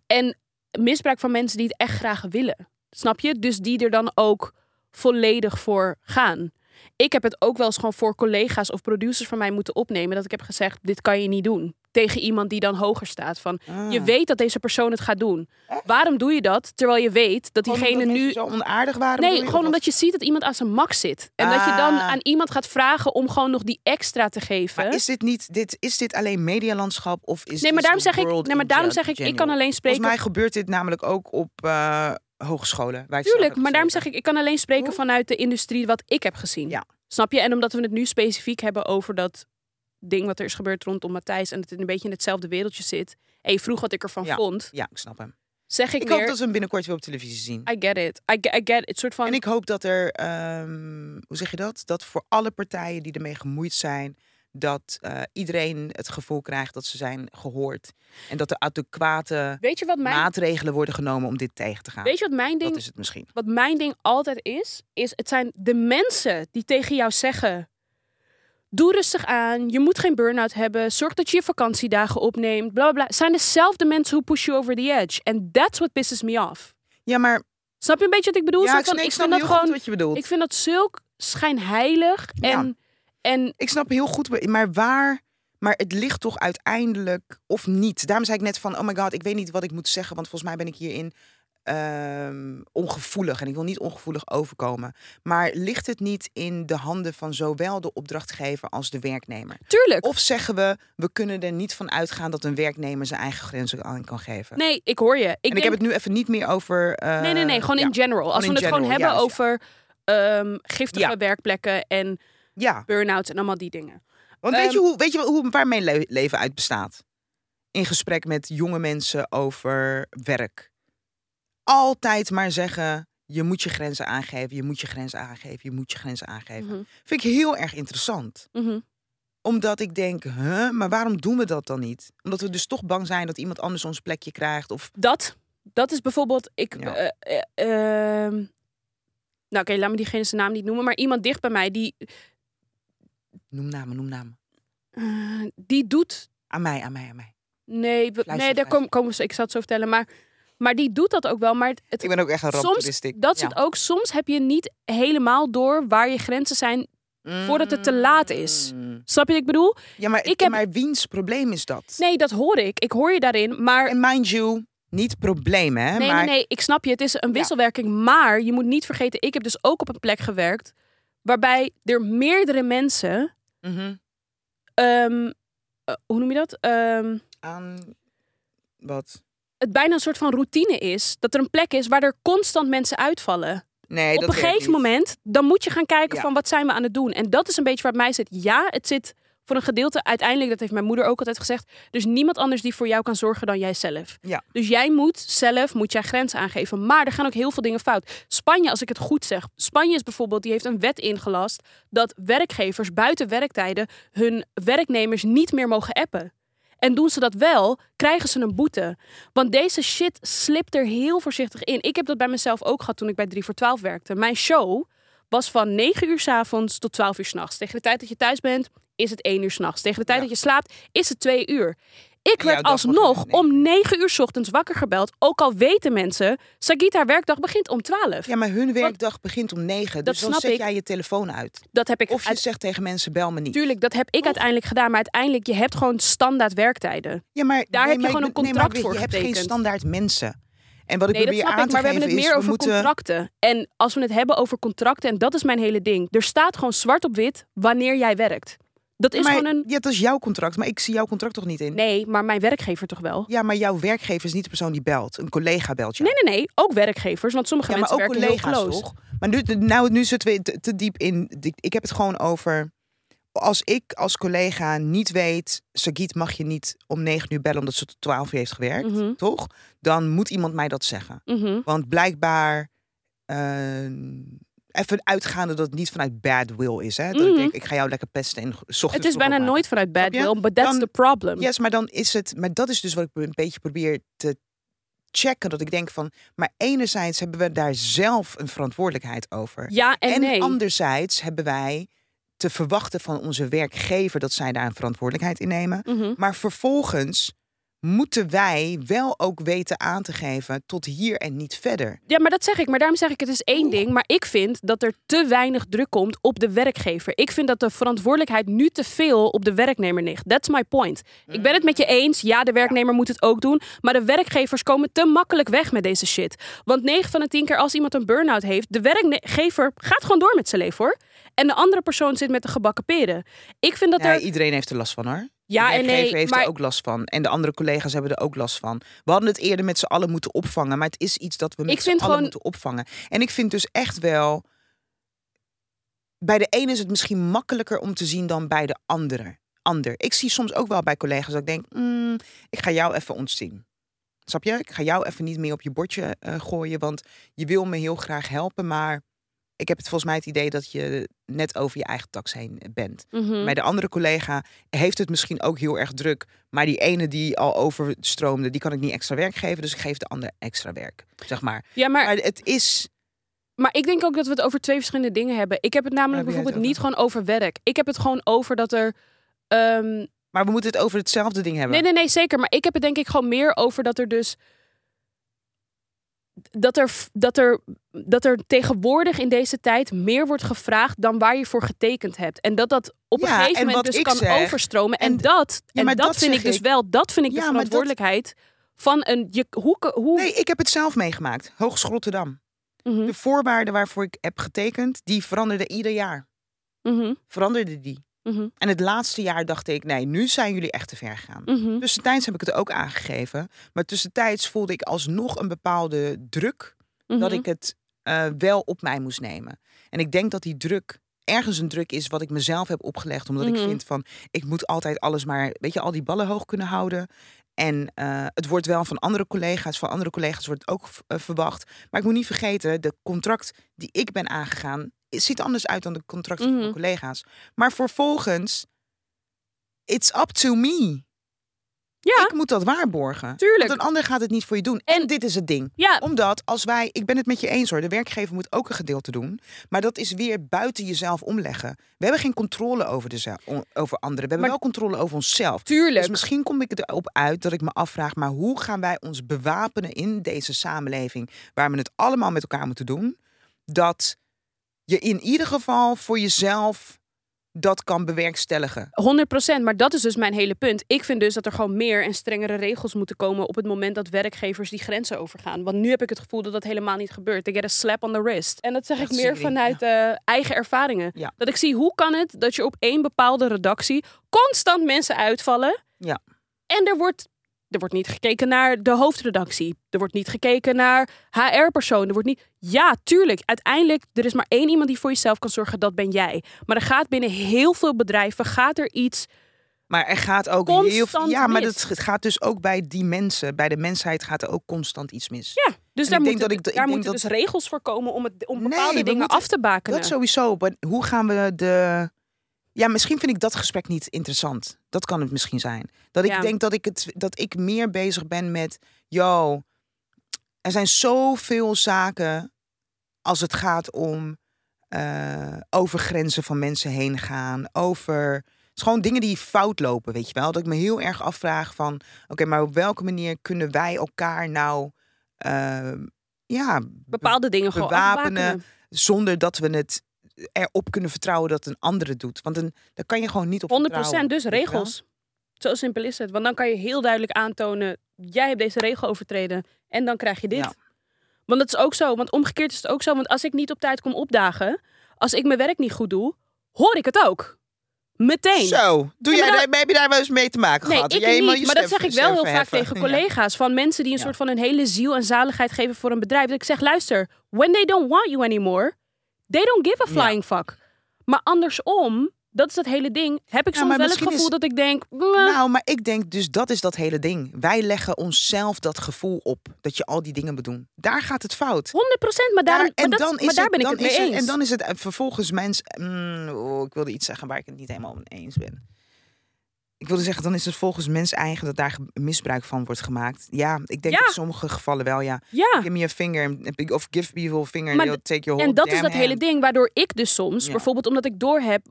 [SPEAKER 1] En misbruik van mensen die het echt graag willen. Snap je? Dus die er dan ook volledig voor gaan. Ik heb het ook wel eens gewoon voor collega's of producers van mij moeten opnemen. Dat ik heb gezegd, dit kan je niet doen. Tegen iemand die dan hoger staat. Van,
[SPEAKER 2] Ah.
[SPEAKER 1] je weet dat deze persoon het gaat doen.
[SPEAKER 2] Echt?
[SPEAKER 1] Waarom doe je dat? Terwijl je weet dat
[SPEAKER 2] Gewoon
[SPEAKER 1] diegene
[SPEAKER 2] omdat
[SPEAKER 1] nu...
[SPEAKER 2] mensen zo onaardig waren? bedoel
[SPEAKER 1] Nee,
[SPEAKER 2] je,
[SPEAKER 1] gewoon
[SPEAKER 2] of
[SPEAKER 1] omdat je ziet dat iemand aan zijn max zit. En dat je dan
[SPEAKER 2] Ah.
[SPEAKER 1] aan iemand gaat vragen om gewoon nog die extra te geven.
[SPEAKER 2] wat? Maar is dit niet dit is dit alleen medialandschap of is
[SPEAKER 1] nee, maar
[SPEAKER 2] dit
[SPEAKER 1] daarom zeg ik,
[SPEAKER 2] world
[SPEAKER 1] nee, maar
[SPEAKER 2] in
[SPEAKER 1] daarom zeg
[SPEAKER 2] gen-
[SPEAKER 1] ik, ik kan
[SPEAKER 2] general?
[SPEAKER 1] alleen
[SPEAKER 2] Volgens
[SPEAKER 1] spreken.
[SPEAKER 2] mij gebeurt dit namelijk ook op eh, hogescholen. Waar ik zelf
[SPEAKER 1] Tuurlijk,
[SPEAKER 2] heb
[SPEAKER 1] maar daarom zeg
[SPEAKER 2] gezeten.
[SPEAKER 1] ik, ik kan alleen spreken
[SPEAKER 2] Hoe?
[SPEAKER 1] vanuit de industrie wat ik heb gezien.
[SPEAKER 2] Ja.
[SPEAKER 1] Snap je? En omdat we het nu specifiek hebben over dat ding wat er is gebeurd rondom Matthijs en dat het een beetje in hetzelfde wereldje zit. En je vroeg wat ik ervan vond.
[SPEAKER 2] Ja, ik snap hem.
[SPEAKER 1] Zeg ik,
[SPEAKER 2] Ik
[SPEAKER 1] meer,
[SPEAKER 2] hoop dat we hem binnenkort weer op televisie zien.
[SPEAKER 1] I get it. I get, I get it. Soort van,
[SPEAKER 2] En ik hoop dat er, ehm, hoe zeg je dat? Dat voor alle partijen die ermee gemoeid zijn, dat eh, iedereen het gevoel krijgt dat ze zijn gehoord. En dat er adequate
[SPEAKER 1] weet je wat mijn,
[SPEAKER 2] maatregelen worden genomen om dit tegen te gaan.
[SPEAKER 1] weet je wat mijn ding
[SPEAKER 2] dat is het misschien.
[SPEAKER 1] wat mijn ding altijd is, is het zijn de mensen die tegen jou zeggen: Doe rustig aan, je moet geen burn-out hebben, zorg dat je je vakantiedagen opneemt, bla bla bla. Het Zijn dezelfde mensen hoe push you over the edge. En that's what pisses me off.
[SPEAKER 2] Ja, maar
[SPEAKER 1] Snap je een beetje wat ik bedoel?
[SPEAKER 2] ja,
[SPEAKER 1] Zo
[SPEAKER 2] ik,
[SPEAKER 1] van,
[SPEAKER 2] nee, ik
[SPEAKER 1] ik
[SPEAKER 2] snap
[SPEAKER 1] vind
[SPEAKER 2] heel
[SPEAKER 1] dat
[SPEAKER 2] goed
[SPEAKER 1] gewoon,
[SPEAKER 2] wat je bedoelt.
[SPEAKER 1] ik vind dat zulk schijnheilig
[SPEAKER 2] Ja.
[SPEAKER 1] en, en
[SPEAKER 2] Ik snap heel goed, wa- maar waar... Maar het ligt toch uiteindelijk of niet. Daarom zei ik net van, oh my god, ik weet niet wat ik moet zeggen. Want volgens mij ben ik hierin ehm, ongevoelig. En ik wil niet ongevoelig overkomen. Maar ligt het niet in de handen van zowel de opdrachtgever als de werknemer?
[SPEAKER 1] tuurlijk.
[SPEAKER 2] Of zeggen we, we kunnen er niet van uitgaan dat een werknemer zijn eigen grenzen aan kan geven?
[SPEAKER 1] Nee, ik hoor je. Ik
[SPEAKER 2] en
[SPEAKER 1] denk,
[SPEAKER 2] ik heb het nu even niet meer over... eh,
[SPEAKER 1] Nee, nee, nee, gewoon
[SPEAKER 2] ja.
[SPEAKER 1] in general. Als we
[SPEAKER 2] in
[SPEAKER 1] het gewoon
[SPEAKER 2] general,
[SPEAKER 1] hebben
[SPEAKER 2] juist,
[SPEAKER 1] over ehm, giftige
[SPEAKER 2] Ja.
[SPEAKER 1] werkplekken en
[SPEAKER 2] Ja,
[SPEAKER 1] burn-outs en allemaal die dingen.
[SPEAKER 2] want weet
[SPEAKER 1] Ehm,
[SPEAKER 2] je, hoe, weet je wel hoe, waar mijn le- leven uit bestaat? In gesprek met jonge mensen over werk. Altijd maar zeggen, je moet je grenzen aangeven, je moet je grenzen aangeven, je moet je grenzen aangeven.
[SPEAKER 1] Mhm,
[SPEAKER 2] Vind ik heel erg interessant.
[SPEAKER 1] mhm.
[SPEAKER 2] Omdat ik denk, huh, maar waarom doen we dat dan niet? Omdat we dus toch bang zijn dat iemand anders ons plekje krijgt. Of
[SPEAKER 1] Dat, dat is bijvoorbeeld. Ik,
[SPEAKER 2] Ja.
[SPEAKER 1] eh, eh, ehm, nou, oké, laat me diegene zijn naam niet noemen. Maar iemand dicht bij mij die,
[SPEAKER 2] noem namen, noem namen.
[SPEAKER 1] eh, die doet.
[SPEAKER 2] Aan mij, aan mij, aan mij.
[SPEAKER 1] Nee, we-
[SPEAKER 2] Luister,
[SPEAKER 1] nee daar kom,
[SPEAKER 2] luister.
[SPEAKER 1] komen ze. Ik zal het zo vertellen. Maar, maar die doet dat ook wel. Maar het, het-
[SPEAKER 2] Ik ben ook echt een
[SPEAKER 1] Soms
[SPEAKER 2] ramptoeristiek.
[SPEAKER 1] dat zit ook. Soms heb je niet helemaal door waar je grenzen zijn. voordat het te laat is. Snap je wat ik bedoel?
[SPEAKER 2] Mm. Ja, maar,
[SPEAKER 1] Ik heb-
[SPEAKER 2] maar wiens probleem is dat?
[SPEAKER 1] Nee, dat hoor ik. Ik hoor je daarin. Maar
[SPEAKER 2] En mind you, niet probleem, hè?
[SPEAKER 1] Nee,
[SPEAKER 2] maar
[SPEAKER 1] nee, nee, ik snap je. Het is een wisselwerking. Maar je moet niet vergeten, ik heb dus ook op een plek gewerkt. waarbij er meerdere mensen.
[SPEAKER 2] Mhm.
[SPEAKER 1] ehm, eh, hoe noem je dat? Ehm,
[SPEAKER 2] aan wat?
[SPEAKER 1] het bijna een soort van routine is. Dat er een plek is waar er constant mensen uitvallen. op
[SPEAKER 2] Nee, dat
[SPEAKER 1] een
[SPEAKER 2] werkt
[SPEAKER 1] gegeven
[SPEAKER 2] niet.
[SPEAKER 1] moment, dan moet je gaan kijken
[SPEAKER 2] Ja.
[SPEAKER 1] van wat zijn we aan het doen. En dat is een beetje waar het mij zit. Ja, het zit voor een gedeelte uiteindelijk, dat heeft mijn moeder ook altijd gezegd. Dus niemand anders die voor jou kan zorgen dan jijzelf.
[SPEAKER 2] Ja.
[SPEAKER 1] Dus jij moet zelf, moet jij grenzen aangeven. Maar er gaan ook heel veel dingen fout. Spanje, als ik het goed zeg. Spanje is bijvoorbeeld, die heeft een wet ingelast dat werkgevers buiten werktijden hun werknemers niet meer mogen appen. En doen ze dat wel, krijgen ze een boete. Want deze shit slipt er heel voorzichtig in. Ik heb dat bij mezelf ook gehad toen ik bij 3 voor 12 werkte. Mijn show was van 9 uur s avonds tot 12 uur s'nachts. Tegen de tijd dat je thuis bent, is het 1 uur s'nachts. Tegen de tijd
[SPEAKER 2] Ja.
[SPEAKER 1] dat je slaapt, is het 2 uur. Ik
[SPEAKER 2] En
[SPEAKER 1] werd
[SPEAKER 2] jouw dag begon
[SPEAKER 1] alsnog
[SPEAKER 2] om negen
[SPEAKER 1] om 9 uur s ochtends wakker gebeld. Ook al weten mensen, Sagit haar werkdag begint om 12.
[SPEAKER 2] Ja, maar hun werkdag begint om
[SPEAKER 1] Dat
[SPEAKER 2] negen. Dus dan
[SPEAKER 1] snap
[SPEAKER 2] zet
[SPEAKER 1] ik.
[SPEAKER 2] jij je telefoon uit.
[SPEAKER 1] Dat heb ik
[SPEAKER 2] Of je
[SPEAKER 1] uit-
[SPEAKER 2] zegt tegen mensen, bel me niet.
[SPEAKER 1] Tuurlijk, dat heb ik
[SPEAKER 2] Oh.
[SPEAKER 1] uiteindelijk gedaan. Maar uiteindelijk, je hebt gewoon standaard werktijden.
[SPEAKER 2] Ja, maar
[SPEAKER 1] Daar
[SPEAKER 2] nee,
[SPEAKER 1] heb je
[SPEAKER 2] maar
[SPEAKER 1] gewoon
[SPEAKER 2] ik
[SPEAKER 1] een
[SPEAKER 2] bedo- nee, maar
[SPEAKER 1] contract
[SPEAKER 2] weet je,
[SPEAKER 1] voor
[SPEAKER 2] Je hebt
[SPEAKER 1] getekend.
[SPEAKER 2] geen standaard mensen. En wat ik
[SPEAKER 1] Nee, dat
[SPEAKER 2] probeer
[SPEAKER 1] snap
[SPEAKER 2] aan
[SPEAKER 1] ik,
[SPEAKER 2] te
[SPEAKER 1] maar we hebben het
[SPEAKER 2] geven is,
[SPEAKER 1] meer over
[SPEAKER 2] we moeten...
[SPEAKER 1] contracten. En als we het hebben over contracten, en dat is mijn hele ding. Er staat gewoon zwart op wit wanneer jij werkt. Dat is
[SPEAKER 2] maar,
[SPEAKER 1] gewoon een...
[SPEAKER 2] Ja, dat is jouw contract, maar ik zie jouw contract toch niet in?
[SPEAKER 1] Nee, maar mijn werkgever toch wel?
[SPEAKER 2] Ja, maar jouw werkgever is niet de persoon die belt. Een collega belt jou.
[SPEAKER 1] Nee, nee, nee. Ook werkgevers, want sommige
[SPEAKER 2] ja, maar
[SPEAKER 1] mensen
[SPEAKER 2] ook
[SPEAKER 1] werken heel
[SPEAKER 2] collega's
[SPEAKER 1] close.
[SPEAKER 2] toch? Maar nu, nou, nu zitten we te, te diep in. Ik- Ik heb het gewoon over. Als ik als collega niet weet, Sagiet mag je niet om negen uur bellen omdat ze tot twaalf uur heeft gewerkt,
[SPEAKER 1] Mhm.
[SPEAKER 2] toch? Dan moet iemand mij dat zeggen.
[SPEAKER 1] Mhm.
[SPEAKER 2] Want blijkbaar, eh, even uitgaande dat het niet vanuit bad will is. Hè? Dat
[SPEAKER 1] Mhm.
[SPEAKER 2] ik denk, ik ga jou lekker pesten en s ochtends
[SPEAKER 1] Het is
[SPEAKER 2] vroeg
[SPEAKER 1] bijna
[SPEAKER 2] opmaken.
[SPEAKER 1] nooit vanuit bad
[SPEAKER 2] Snap je?
[SPEAKER 1] will, but that's
[SPEAKER 2] Dan-
[SPEAKER 1] the problem.
[SPEAKER 2] Yes, maar dan is het. Maar dat is dus wat ik een beetje probeer te checken. Dat ik denk van. Maar enerzijds hebben we daar zelf een verantwoordelijkheid over.
[SPEAKER 1] Ja en, nee.
[SPEAKER 2] anderzijds hebben wij te verwachten van onze werkgever dat zij daar een verantwoordelijkheid in nemen.
[SPEAKER 1] Mhm.
[SPEAKER 2] Maar vervolgens moeten wij wel ook weten aan te geven tot hier en niet verder.
[SPEAKER 1] Ja, maar dat zeg ik. Maar daarom zeg ik, het is
[SPEAKER 2] Oh.
[SPEAKER 1] één ding. Maar ik vind dat er te weinig druk komt op de werkgever. Ik vind dat de verantwoordelijkheid nu te veel op de werknemer ligt. That's my point. Ik ben het met je eens. Ja, de werknemer moet het ook doen. Maar de werkgevers komen te makkelijk weg met deze shit. Want 9 van de 10 keer als iemand een burn-out heeft... de werkgever gaat gewoon door met zijn leven, hoor. En de andere persoon zit met de gebakken peren. Ik vind dat
[SPEAKER 2] Nee,
[SPEAKER 1] er...
[SPEAKER 2] iedereen heeft er last van hoor.
[SPEAKER 1] Ja
[SPEAKER 2] de
[SPEAKER 1] en
[SPEAKER 2] werkgever
[SPEAKER 1] nee,
[SPEAKER 2] heeft
[SPEAKER 1] maar
[SPEAKER 2] er ook last van. En de andere collega's hebben er ook last van. We hadden het eerder met z'n allen moeten opvangen. Maar het is iets dat we
[SPEAKER 1] Ik
[SPEAKER 2] met z'n
[SPEAKER 1] vind
[SPEAKER 2] allen
[SPEAKER 1] gewoon-
[SPEAKER 2] moeten opvangen. En ik vind dus echt wel... bij de ene is het misschien makkelijker om te zien dan bij de andere. ander. Ik zie soms ook wel bij collega's dat ik denk, "Mm, ik ga jou even ontzien. Snap je? Ik ga jou even niet meer op je bordje eh, gooien, want je wil me heel graag helpen, maar ik heb het volgens mij het idee dat je net over je eigen tax heen bent.
[SPEAKER 1] Mhm.
[SPEAKER 2] Bij de andere collega heeft het misschien ook heel erg druk. Maar die ene die al overstroomde, die kan ik niet extra werk geven. Dus ik geef de ander extra werk, zeg maar.
[SPEAKER 1] Ja, maar
[SPEAKER 2] Maar het is...
[SPEAKER 1] Maar ik denk ook dat we het over twee verschillende dingen hebben. Ik heb het namelijk
[SPEAKER 2] Waar heb jij
[SPEAKER 1] bijvoorbeeld
[SPEAKER 2] het
[SPEAKER 1] niet gewoon over werk. Ik heb het gewoon over dat er. ehm,
[SPEAKER 2] Maar we moeten het over hetzelfde ding hebben.
[SPEAKER 1] nee, nee, nee, zeker. Maar ik heb het denk ik gewoon meer over dat er dus. Dat er, f- dat, er, dat er tegenwoordig in deze tijd meer wordt gevraagd dan waar je voor getekend hebt. En dat dat op een
[SPEAKER 2] Ja, en
[SPEAKER 1] gegeven moment
[SPEAKER 2] wat
[SPEAKER 1] dus
[SPEAKER 2] ik
[SPEAKER 1] kan
[SPEAKER 2] zeg-
[SPEAKER 1] overstromen. En,
[SPEAKER 2] en-
[SPEAKER 1] dat,
[SPEAKER 2] Ja,
[SPEAKER 1] en
[SPEAKER 2] maar
[SPEAKER 1] dat,
[SPEAKER 2] dat
[SPEAKER 1] vind
[SPEAKER 2] zeg
[SPEAKER 1] ik dus
[SPEAKER 2] ik.
[SPEAKER 1] wel, dat vind ik
[SPEAKER 2] Ja,
[SPEAKER 1] de
[SPEAKER 2] maar dat-
[SPEAKER 1] verantwoordelijkheid van een. Je, hoe, hoe,
[SPEAKER 2] Nee, ik heb het zelf meegemaakt. Hoogst Rotterdam.
[SPEAKER 1] Mhm,
[SPEAKER 2] De voorwaarden waarvoor ik heb getekend, die veranderden ieder jaar.
[SPEAKER 1] mhm,
[SPEAKER 2] Veranderde die.
[SPEAKER 1] mhm,
[SPEAKER 2] En het laatste jaar dacht ik, nee, nu zijn jullie echt te ver gegaan.
[SPEAKER 1] mhm.
[SPEAKER 2] Tussentijds heb ik het ook aangegeven. Maar tussentijds voelde ik alsnog een bepaalde druk dat
[SPEAKER 1] Mhm.
[SPEAKER 2] ik het eh, wel op mij moest nemen. En ik denk dat die druk ergens een druk is wat ik mezelf heb opgelegd. Omdat
[SPEAKER 1] Mhm.
[SPEAKER 2] ik vind van, ik moet altijd alles maar, weet je, al die ballen hoog kunnen houden. En eh, het wordt wel van andere collega's, van andere collega's wordt het ook v- eh, verwacht. Maar ik moet niet vergeten, de contract die ik ben aangegaan, het ziet anders uit dan de contracten van
[SPEAKER 1] Mhm.
[SPEAKER 2] mijn collega's. Maar vervolgens, it's up to me.
[SPEAKER 1] Ja.
[SPEAKER 2] Ik moet dat waarborgen.
[SPEAKER 1] Tuurlijk.
[SPEAKER 2] Want een ander gaat het niet voor je doen.
[SPEAKER 1] En-
[SPEAKER 2] en dit is het ding.
[SPEAKER 1] Ja,
[SPEAKER 2] Omdat als wij, ik ben het met je eens hoor, de werkgever moet ook een gedeelte doen. Maar dat is weer buiten jezelf omleggen. We hebben geen controle over, de zel- o- over anderen. We hebben
[SPEAKER 1] Maar-
[SPEAKER 2] wel controle over onszelf.
[SPEAKER 1] tuurlijk.
[SPEAKER 2] Dus misschien kom ik erop uit dat ik me afvraag, maar hoe gaan wij ons bewapenen in deze samenleving waar we het allemaal met elkaar moeten doen? Dat je in ieder geval voor jezelf dat kan bewerkstelligen.
[SPEAKER 1] 100%, maar dat is dus mijn hele punt. Ik vind dus dat er gewoon meer en strengere regels moeten komen op het moment dat werkgevers die grenzen overgaan. Want nu heb ik het gevoel dat dat helemaal niet gebeurt. They get a slap on the wrist. En dat zeg
[SPEAKER 2] Echt
[SPEAKER 1] ik meer
[SPEAKER 2] serieus,
[SPEAKER 1] vanuit eh, eigen ervaringen.
[SPEAKER 2] Ja.
[SPEAKER 1] Dat ik zie hoe kan het dat je op één bepaalde redactie constant mensen uitvallen.
[SPEAKER 2] Ja.
[SPEAKER 1] En er wordt, er wordt niet gekeken naar de hoofdredactie. Er wordt niet gekeken naar HR-persoon. Er wordt niet. Ja, tuurlijk. Uiteindelijk, er is maar één iemand die voor jezelf kan zorgen. Dat ben jij. Maar er gaat binnen heel veel bedrijven gaat er iets.
[SPEAKER 2] Maar er gaat ook heel veel.
[SPEAKER 1] Constant
[SPEAKER 2] Ja, maar
[SPEAKER 1] mis.
[SPEAKER 2] dat gaat dus ook bij die mensen, bij de mensheid gaat er ook constant iets mis.
[SPEAKER 1] Ja, dus
[SPEAKER 2] ik
[SPEAKER 1] daar,
[SPEAKER 2] denk
[SPEAKER 1] moeten,
[SPEAKER 2] dat ik- ik
[SPEAKER 1] daar
[SPEAKER 2] denk
[SPEAKER 1] moeten
[SPEAKER 2] dat-
[SPEAKER 1] dus regels voor komen om, het, om
[SPEAKER 2] Nee,
[SPEAKER 1] bepaalde
[SPEAKER 2] we
[SPEAKER 1] dingen
[SPEAKER 2] moeten-
[SPEAKER 1] af te bakenen.
[SPEAKER 2] Dat sowieso. Maar hoe gaan we de. Ja, misschien vind ik dat gesprek niet interessant. Dat kan het misschien zijn. Dat ik
[SPEAKER 1] Ja.
[SPEAKER 2] denk dat ik, het, dat ik meer bezig ben met. Yo, er zijn zoveel zaken als het gaat om eh, over grenzen van mensen heen gaan. Over. Het is gewoon dingen die fout lopen, weet je wel. Dat ik me heel erg afvraag van. Oké, maar op welke manier kunnen wij elkaar nou. eh, ja,
[SPEAKER 1] bepaalde dingen gewoon
[SPEAKER 2] bewapenen.
[SPEAKER 1] afbakenen.
[SPEAKER 2] zonder dat we het erop kunnen vertrouwen dat een ander het doet. Want dan, dan kan je gewoon niet op
[SPEAKER 1] 100%
[SPEAKER 2] vertrouwen,
[SPEAKER 1] dus
[SPEAKER 2] weet je wel?
[SPEAKER 1] regels. Zo simpel is het. Want dan kan je heel duidelijk aantonen, jij hebt deze regel overtreden en dan krijg je dit.
[SPEAKER 2] Ja.
[SPEAKER 1] Want dat is ook zo, want omgekeerd is het ook zo. Want als ik niet op tijd kom opdagen, als ik mijn werk niet goed doe, hoor ik het ook. Meteen.
[SPEAKER 2] Zo, doe
[SPEAKER 1] dus Ja,
[SPEAKER 2] jij,
[SPEAKER 1] maar
[SPEAKER 2] daar- heb je daar wel eens mee te maken
[SPEAKER 1] Nee,
[SPEAKER 2] gehad?
[SPEAKER 1] ik
[SPEAKER 2] Jij helemaal
[SPEAKER 1] niet.
[SPEAKER 2] je
[SPEAKER 1] Maar dat
[SPEAKER 2] stem-
[SPEAKER 1] zeg ik wel heel
[SPEAKER 2] stem
[SPEAKER 1] vaak tegen
[SPEAKER 2] verheffen. Ja.
[SPEAKER 1] collega's. Van mensen die een
[SPEAKER 2] Ja.
[SPEAKER 1] soort van een hele ziel en zaligheid geven voor een bedrijf. Dat ik zeg, luister, when they don't want you anymore, they don't give a
[SPEAKER 2] Ja.
[SPEAKER 1] flying fuck. Maar andersom, dat is dat hele ding. Heb ik
[SPEAKER 2] Ja,
[SPEAKER 1] soms
[SPEAKER 2] maar
[SPEAKER 1] wel het
[SPEAKER 2] misschien
[SPEAKER 1] gevoel
[SPEAKER 2] is-
[SPEAKER 1] dat ik denk, "Mm, "Mwah."
[SPEAKER 2] Nou, maar ik denk dus dat is dat hele ding. Wij leggen onszelf dat gevoel op dat je al die dingen moet doen. Daar gaat het fout.
[SPEAKER 1] 100%, maar, daarom,
[SPEAKER 2] en
[SPEAKER 1] maar, dat,
[SPEAKER 2] dan is
[SPEAKER 1] maar daar ben ik
[SPEAKER 2] dan
[SPEAKER 1] het mee
[SPEAKER 2] is
[SPEAKER 1] eens.
[SPEAKER 2] En dan is het eh, vervolgens mensen... mm, oh, ik wilde iets zeggen waar ik het niet helemaal mee eens ben. Ik wilde zeggen, dan is het volgens mens eigen dat daar ge- misbruik van wordt gemaakt. Ja, ik denk
[SPEAKER 1] Ja.
[SPEAKER 2] in sommige gevallen wel, ja.
[SPEAKER 1] ja,
[SPEAKER 2] Give me a finger, and- of give me your finger, and
[SPEAKER 1] Maar
[SPEAKER 2] they'll take your whole
[SPEAKER 1] en dat is
[SPEAKER 2] damn
[SPEAKER 1] dat hele
[SPEAKER 2] hand.
[SPEAKER 1] ding waardoor ik dus soms,
[SPEAKER 2] Ja.
[SPEAKER 1] bijvoorbeeld omdat ik doorheb,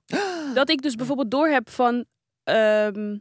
[SPEAKER 1] dat ik dus bijvoorbeeld doorheb van... ehm,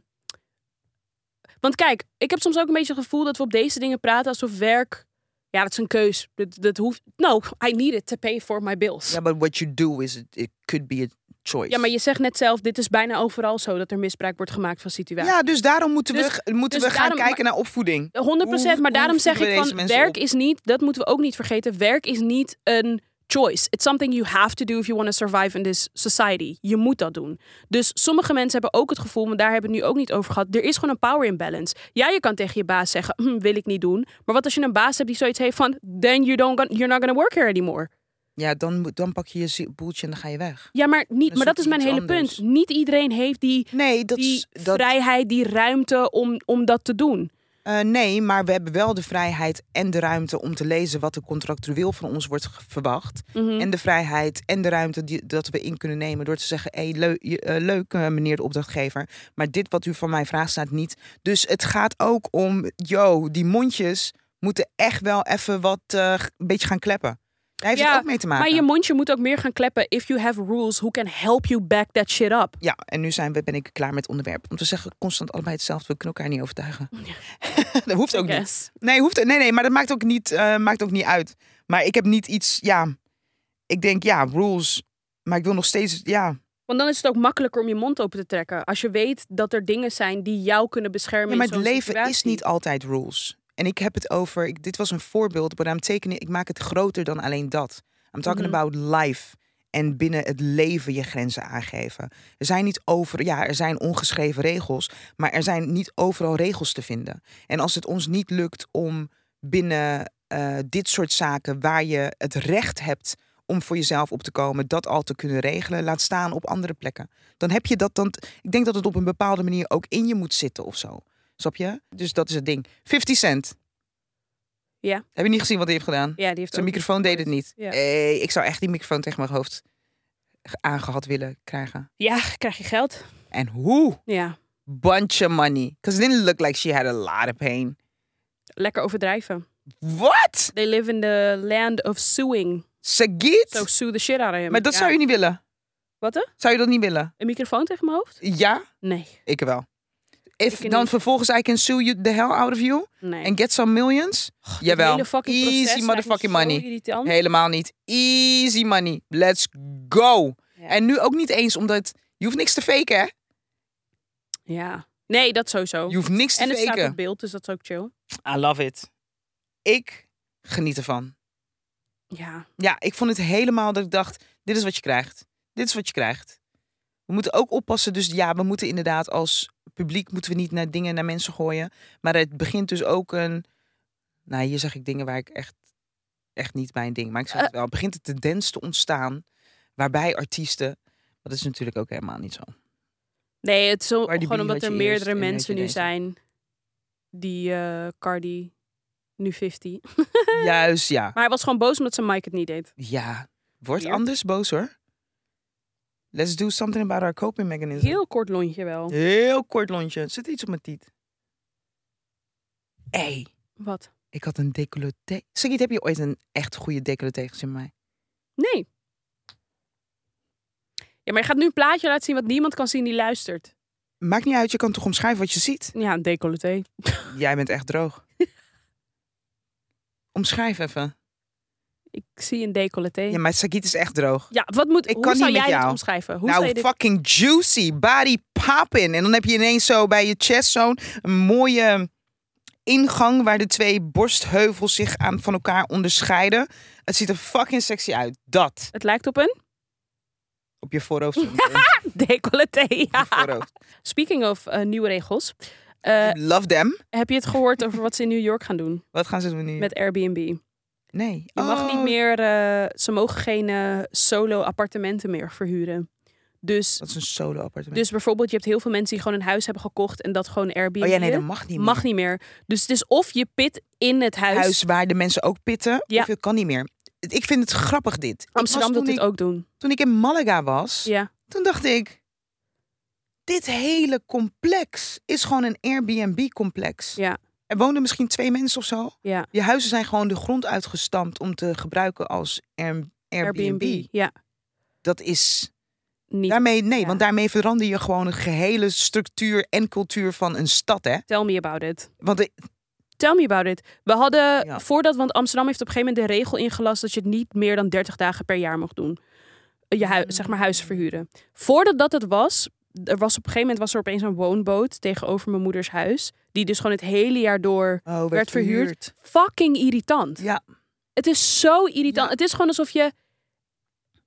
[SPEAKER 1] want kijk, ik heb soms ook een beetje het gevoel dat we op deze dingen praten alsof werk... Ja, dat is een keus. Dat, dat hoeft... No, I need it to pay for my bills.
[SPEAKER 2] Ja, but what you do is, it, it could be a choice.
[SPEAKER 1] Ja, maar je zegt net zelf, dit is bijna overal zo dat er misbruik wordt gemaakt van situaties.
[SPEAKER 2] Ja, dus daarom moeten
[SPEAKER 1] Dus-
[SPEAKER 2] we, moeten
[SPEAKER 1] dus
[SPEAKER 2] we gaan
[SPEAKER 1] daarom-
[SPEAKER 2] kijken naar opvoeding.
[SPEAKER 1] 100
[SPEAKER 2] Hoe-
[SPEAKER 1] maar
[SPEAKER 2] hoe
[SPEAKER 1] daarom zeg
[SPEAKER 2] voeden
[SPEAKER 1] ik
[SPEAKER 2] we deze
[SPEAKER 1] van
[SPEAKER 2] mensen
[SPEAKER 1] werk
[SPEAKER 2] op?
[SPEAKER 1] is niet, dat moeten we ook niet vergeten. Werk is niet een choice. It's something you have to do if you want to survive in this society. Je moet dat doen. Dus sommige mensen hebben ook het gevoel, maar daar hebben we het nu ook niet over gehad. Er is gewoon een power imbalance. Ja, je kan tegen je baas zeggen, "Hm, wil ik niet doen. Maar wat als je een baas hebt die zoiets heeft van, then you don't, gon- you're not gonna work here anymore.
[SPEAKER 2] Ja, dan, moet- dan pak je je zie- boeltje en dan ga je weg.
[SPEAKER 1] Ja, maar, niet,
[SPEAKER 2] Dan
[SPEAKER 1] maar dat
[SPEAKER 2] zoek
[SPEAKER 1] is
[SPEAKER 2] je
[SPEAKER 1] mijn
[SPEAKER 2] iets
[SPEAKER 1] hele
[SPEAKER 2] anders.
[SPEAKER 1] punt. Niet iedereen heeft die,
[SPEAKER 2] Nee, dat
[SPEAKER 1] die
[SPEAKER 2] is... Dat,
[SPEAKER 1] vrijheid, die ruimte om, om dat te doen.
[SPEAKER 2] eh, nee, maar we hebben wel de vrijheid en de ruimte om te lezen... wat er contractueel van ons wordt ge- verwacht.
[SPEAKER 1] Mhm.
[SPEAKER 2] En de vrijheid en de ruimte die, dat we in kunnen nemen door te zeggen: hey, leu- je- eh, leuk, eh, meneer de opdrachtgever, maar dit wat u van mij vraagt staat niet. Dus het gaat ook om: yo, die mondjes moeten echt wel even wat, eh, g- een beetje gaan kleppen. Daar heeft
[SPEAKER 1] Ja,
[SPEAKER 2] het ook mee te maken.
[SPEAKER 1] Maar je mondje moet ook meer gaan kleppen. If you have rules, who can help you back that shit up?
[SPEAKER 2] Ja, en nu zijn we, ben ik klaar met het onderwerp. Om te zeggen constant allebei hetzelfde, we kunnen elkaar niet overtuigen. dat hoeft ook niet.
[SPEAKER 1] Yes.
[SPEAKER 2] Nee, hoeft, nee, nee, maar dat maakt ook, niet, eh, maakt ook niet uit. Maar ik heb niet iets, ja, ik denk ja, rules. Maar ik wil nog steeds, ja,
[SPEAKER 1] Want dan is het ook makkelijker om je mond open te trekken. Als je weet dat er dingen zijn die jou kunnen beschermen.
[SPEAKER 2] Ja, maar
[SPEAKER 1] in
[SPEAKER 2] het
[SPEAKER 1] zo'n
[SPEAKER 2] leven is
[SPEAKER 1] situatie.
[SPEAKER 2] niet altijd rules. En ik heb het over, ik, dit was een voorbeeld, maar I'm taking it- ik maak het groter dan alleen dat. I'm talking
[SPEAKER 1] Mhm.
[SPEAKER 2] about life. En binnen het leven je grenzen aangeven. Er zijn niet over, ja, er zijn ongeschreven regels, maar er zijn niet overal regels te vinden. En als het ons niet lukt om binnen eh, dit soort zaken, waar je het recht hebt om voor jezelf op te komen, dat al te kunnen regelen, laat staan op andere plekken. Dan heb je dat dan. Ik denk dat het op een bepaalde manier ook in je moet zitten of zo. Snap je? Dus dat is het ding. 50 Cent.
[SPEAKER 1] Ja.
[SPEAKER 2] Heb je niet gezien wat hij heeft gedaan?
[SPEAKER 1] Ja, die heeft
[SPEAKER 2] Zijn
[SPEAKER 1] ook-
[SPEAKER 2] microfoon deed het niet.
[SPEAKER 1] Ja.
[SPEAKER 2] Eh, ik zou echt die microfoon tegen mijn hoofd ge- aangehad willen krijgen.
[SPEAKER 1] Ja, krijg je geld.
[SPEAKER 2] En hoe?
[SPEAKER 1] Ja,
[SPEAKER 2] Bunch of money. Because it didn't look like she had a lot of pain.
[SPEAKER 1] lekker overdrijven.
[SPEAKER 2] What?
[SPEAKER 1] They live in the land of suing.
[SPEAKER 2] Sagit?
[SPEAKER 1] So sue the shit out of him.
[SPEAKER 2] maar dat
[SPEAKER 1] Ja.
[SPEAKER 2] zou je niet willen.
[SPEAKER 1] Wat hè?
[SPEAKER 2] Zou je dat niet willen?
[SPEAKER 1] Een microfoon tegen mijn hoofd?
[SPEAKER 2] Ja,
[SPEAKER 1] Nee,
[SPEAKER 2] ik wel. If
[SPEAKER 1] Ik
[SPEAKER 2] dan
[SPEAKER 1] niet.
[SPEAKER 2] vervolgens I can sue you the hell out of you
[SPEAKER 1] nee.
[SPEAKER 2] and get some millions.
[SPEAKER 1] Dat
[SPEAKER 2] Jawel.
[SPEAKER 1] hele fucking
[SPEAKER 2] Easy
[SPEAKER 1] proces lijkt me
[SPEAKER 2] motherfucking
[SPEAKER 1] zo
[SPEAKER 2] money.
[SPEAKER 1] irritant.
[SPEAKER 2] Helemaal niet. Easy money. Let's go.
[SPEAKER 1] Ja.
[SPEAKER 2] En nu ook niet eens omdat je hoeft niks te faken, hè?
[SPEAKER 1] Ja. Nee, dat sowieso.
[SPEAKER 2] Je hoeft niks te
[SPEAKER 1] en het staat
[SPEAKER 2] faken.
[SPEAKER 1] op beeld, dus dat is ook chill.
[SPEAKER 2] I love it. Ik geniet ervan.
[SPEAKER 1] Ja.
[SPEAKER 2] Ja, ik vond het helemaal dat ik dacht: dit is wat je krijgt. Dit is wat je krijgt. We moeten ook oppassen. Dus ja, we moeten inderdaad als publiek moeten we niet naar dingen naar mensen gooien. Maar het begint dus ook een. Nou, hier zeg ik dingen waar ik echt, echt niet bij een ding. Maar ik zeg het wel. Begint de tendens te ontstaan waarbij artiesten. Dat is natuurlijk ook helemaal niet zo.
[SPEAKER 1] Nee, het is zo-
[SPEAKER 2] Cardi B
[SPEAKER 1] gewoon omdat er
[SPEAKER 2] had je eerst
[SPEAKER 1] meerdere
[SPEAKER 2] en weet
[SPEAKER 1] mensen
[SPEAKER 2] je
[SPEAKER 1] nu
[SPEAKER 2] deze.
[SPEAKER 1] zijn die eh, Cardi nu 50.
[SPEAKER 2] Juist, ja.
[SPEAKER 1] Maar hij was gewoon boos omdat zijn mic het niet deed.
[SPEAKER 2] Ja. Word
[SPEAKER 1] Weird.
[SPEAKER 2] anders boos hoor. Let's do something about our coping mechanism.
[SPEAKER 1] Heel kort lontje wel.
[SPEAKER 2] Heel kort lontje. Zit iets op mijn tiet? Ey,
[SPEAKER 1] Wat?
[SPEAKER 2] ik had een decolleté. Sagiet, heb je ooit een echt goede decolleté gezien bij mij?
[SPEAKER 1] Nee. Ja, maar je gaat nu een plaatje laten zien wat niemand kan zien die luistert.
[SPEAKER 2] Maakt niet uit, je kan toch omschrijven wat je ziet?
[SPEAKER 1] Ja, een decolleté.
[SPEAKER 2] Jij bent echt droog. Omschrijf even.
[SPEAKER 1] Ik zie een decolleté.
[SPEAKER 2] Ja,
[SPEAKER 1] Ja,
[SPEAKER 2] maar Sagiet is echt droog.
[SPEAKER 1] wat moet,
[SPEAKER 2] Ik
[SPEAKER 1] hoe
[SPEAKER 2] kan
[SPEAKER 1] zou
[SPEAKER 2] niet met
[SPEAKER 1] jij dat
[SPEAKER 2] jou.
[SPEAKER 1] omschrijven? Hoe zou
[SPEAKER 2] nou,
[SPEAKER 1] je dit...
[SPEAKER 2] fucking juicy. Body popping. En dan heb je ineens zo bij je chest zo'n een mooie ingang waar de twee borstheuvels zich aan van elkaar onderscheiden. Het ziet er fucking sexy uit. Dat
[SPEAKER 1] Het lijkt op een
[SPEAKER 2] op je voorhoofd. stond. Op
[SPEAKER 1] decolleté.
[SPEAKER 2] je
[SPEAKER 1] Ja.
[SPEAKER 2] voorhoofd.
[SPEAKER 1] Speaking of eh, nieuwe regels. eh,
[SPEAKER 2] Love them.
[SPEAKER 1] heb je het gehoord over wat ze in New York gaan doen
[SPEAKER 2] Wat gaan ze doen nu?
[SPEAKER 1] met Airbnb?
[SPEAKER 2] Nee.
[SPEAKER 1] Je mag
[SPEAKER 2] Oh,
[SPEAKER 1] niet meer, eh, ze mogen geen eh, solo appartementen meer verhuren. Dus,
[SPEAKER 2] Dat is een solo appartement.
[SPEAKER 1] dus bijvoorbeeld, je hebt heel veel mensen die gewoon een huis hebben gekocht en dat gewoon Airbnb.
[SPEAKER 2] oh ja, nee, dat mag niet meer.
[SPEAKER 1] mag niet meer. Dus het is of je pit in het huis.
[SPEAKER 2] Huis waar de mensen ook pitten.
[SPEAKER 1] Ja.
[SPEAKER 2] Of het kan niet meer. Ik vind het grappig dit. Ik was
[SPEAKER 1] Amsterdam wil
[SPEAKER 2] toen
[SPEAKER 1] dit
[SPEAKER 2] ik-
[SPEAKER 1] ook doen.
[SPEAKER 2] Toen ik in Malaga was.
[SPEAKER 1] Ja.
[SPEAKER 2] Toen dacht ik, dit hele complex is gewoon een Airbnb-complex.
[SPEAKER 1] Ja.
[SPEAKER 2] Er woonden misschien twee mensen of zo.
[SPEAKER 1] Ja.
[SPEAKER 2] Je huizen zijn gewoon de grond uitgestampt om te gebruiken als Air- Airbnb.
[SPEAKER 1] Ja.
[SPEAKER 2] Dat is
[SPEAKER 1] Niet.
[SPEAKER 2] daarmee, nee,
[SPEAKER 1] ja.
[SPEAKER 2] want daarmee verander je gewoon een gehele structuur en cultuur van een stad, hè?
[SPEAKER 1] Tell me about it.
[SPEAKER 2] Want de-
[SPEAKER 1] Tell me about it. We hadden
[SPEAKER 2] Ja.
[SPEAKER 1] voordat, want Amsterdam heeft op een gegeven moment de regel ingelast dat je het niet meer dan 30 dagen per jaar mag doen. Eh, Je hui-
[SPEAKER 2] Hmm.
[SPEAKER 1] zeg maar huizen verhuren. Voordat dat het was, er was op een gegeven moment was er opeens een woonboot tegenover mijn moeders huis. Die dus gewoon het hele jaar door
[SPEAKER 2] oh,
[SPEAKER 1] werd verhuurd. fucking irritant.
[SPEAKER 2] Ja.
[SPEAKER 1] Het is zo irritant.
[SPEAKER 2] Ja.
[SPEAKER 1] Het is gewoon alsof je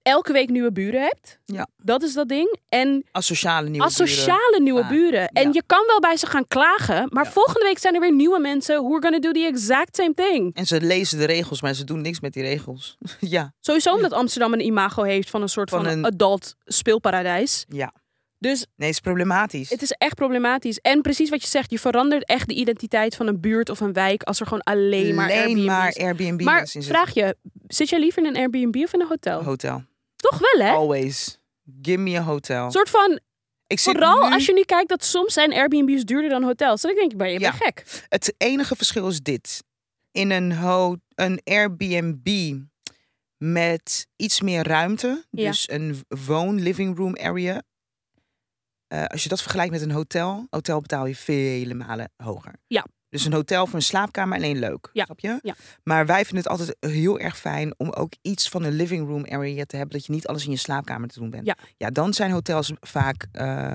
[SPEAKER 1] elke week nieuwe buren hebt.
[SPEAKER 2] Ja.
[SPEAKER 1] Dat is dat ding. En
[SPEAKER 2] Asociale nieuwe buren.
[SPEAKER 1] asociale nieuwe
[SPEAKER 2] Vaak,
[SPEAKER 1] buren. En
[SPEAKER 2] ja.
[SPEAKER 1] je kan wel bij ze gaan klagen. Maar
[SPEAKER 2] Ja.
[SPEAKER 1] volgende week zijn er weer nieuwe mensen. Who are gonna do the exact same thing.
[SPEAKER 2] En ze lezen de regels, maar ze doen niks met die regels. ja,
[SPEAKER 1] Sowieso omdat Amsterdam een imago heeft van een soort van,
[SPEAKER 2] Van een-
[SPEAKER 1] adult speelparadijs.
[SPEAKER 2] ja.
[SPEAKER 1] Dus
[SPEAKER 2] Nee, het is problematisch.
[SPEAKER 1] het is echt problematisch. En precies wat je zegt. Je verandert echt de identiteit van een buurt of een wijk. Als er gewoon alleen maar Airbnb
[SPEAKER 2] maar
[SPEAKER 1] is.
[SPEAKER 2] Airbnb
[SPEAKER 1] Maar
[SPEAKER 2] in
[SPEAKER 1] vraag je, zit jij liever in een Airbnb of in een hotel?
[SPEAKER 2] hotel.
[SPEAKER 1] Toch wel, hè?
[SPEAKER 2] Always. Give me a hotel.
[SPEAKER 1] Een soort van,
[SPEAKER 2] ik Oh. zit
[SPEAKER 1] vooral
[SPEAKER 2] nu-
[SPEAKER 1] als je nu kijkt dat soms zijn Airbnbs duurder dan hotels. Dan denk ik, ben je
[SPEAKER 2] Ja.
[SPEAKER 1] bent gek.
[SPEAKER 2] Het enige verschil is dit. In een, ho een Airbnb met iets meer ruimte,
[SPEAKER 1] Ja.
[SPEAKER 2] dus een woon-living room area. eh, als je dat vergelijkt met een hotel, hotel betaal je vele malen hoger.
[SPEAKER 1] Ja.
[SPEAKER 2] Dus een hotel voor een slaapkamer alleen leuk,
[SPEAKER 1] Ja.
[SPEAKER 2] snap je?
[SPEAKER 1] Ja.
[SPEAKER 2] Maar wij vinden het altijd heel erg fijn om ook iets van een living room area te hebben. Dat je niet alles in je slaapkamer te doen bent.
[SPEAKER 1] Ja.
[SPEAKER 2] dan zijn hotels vaak, eh,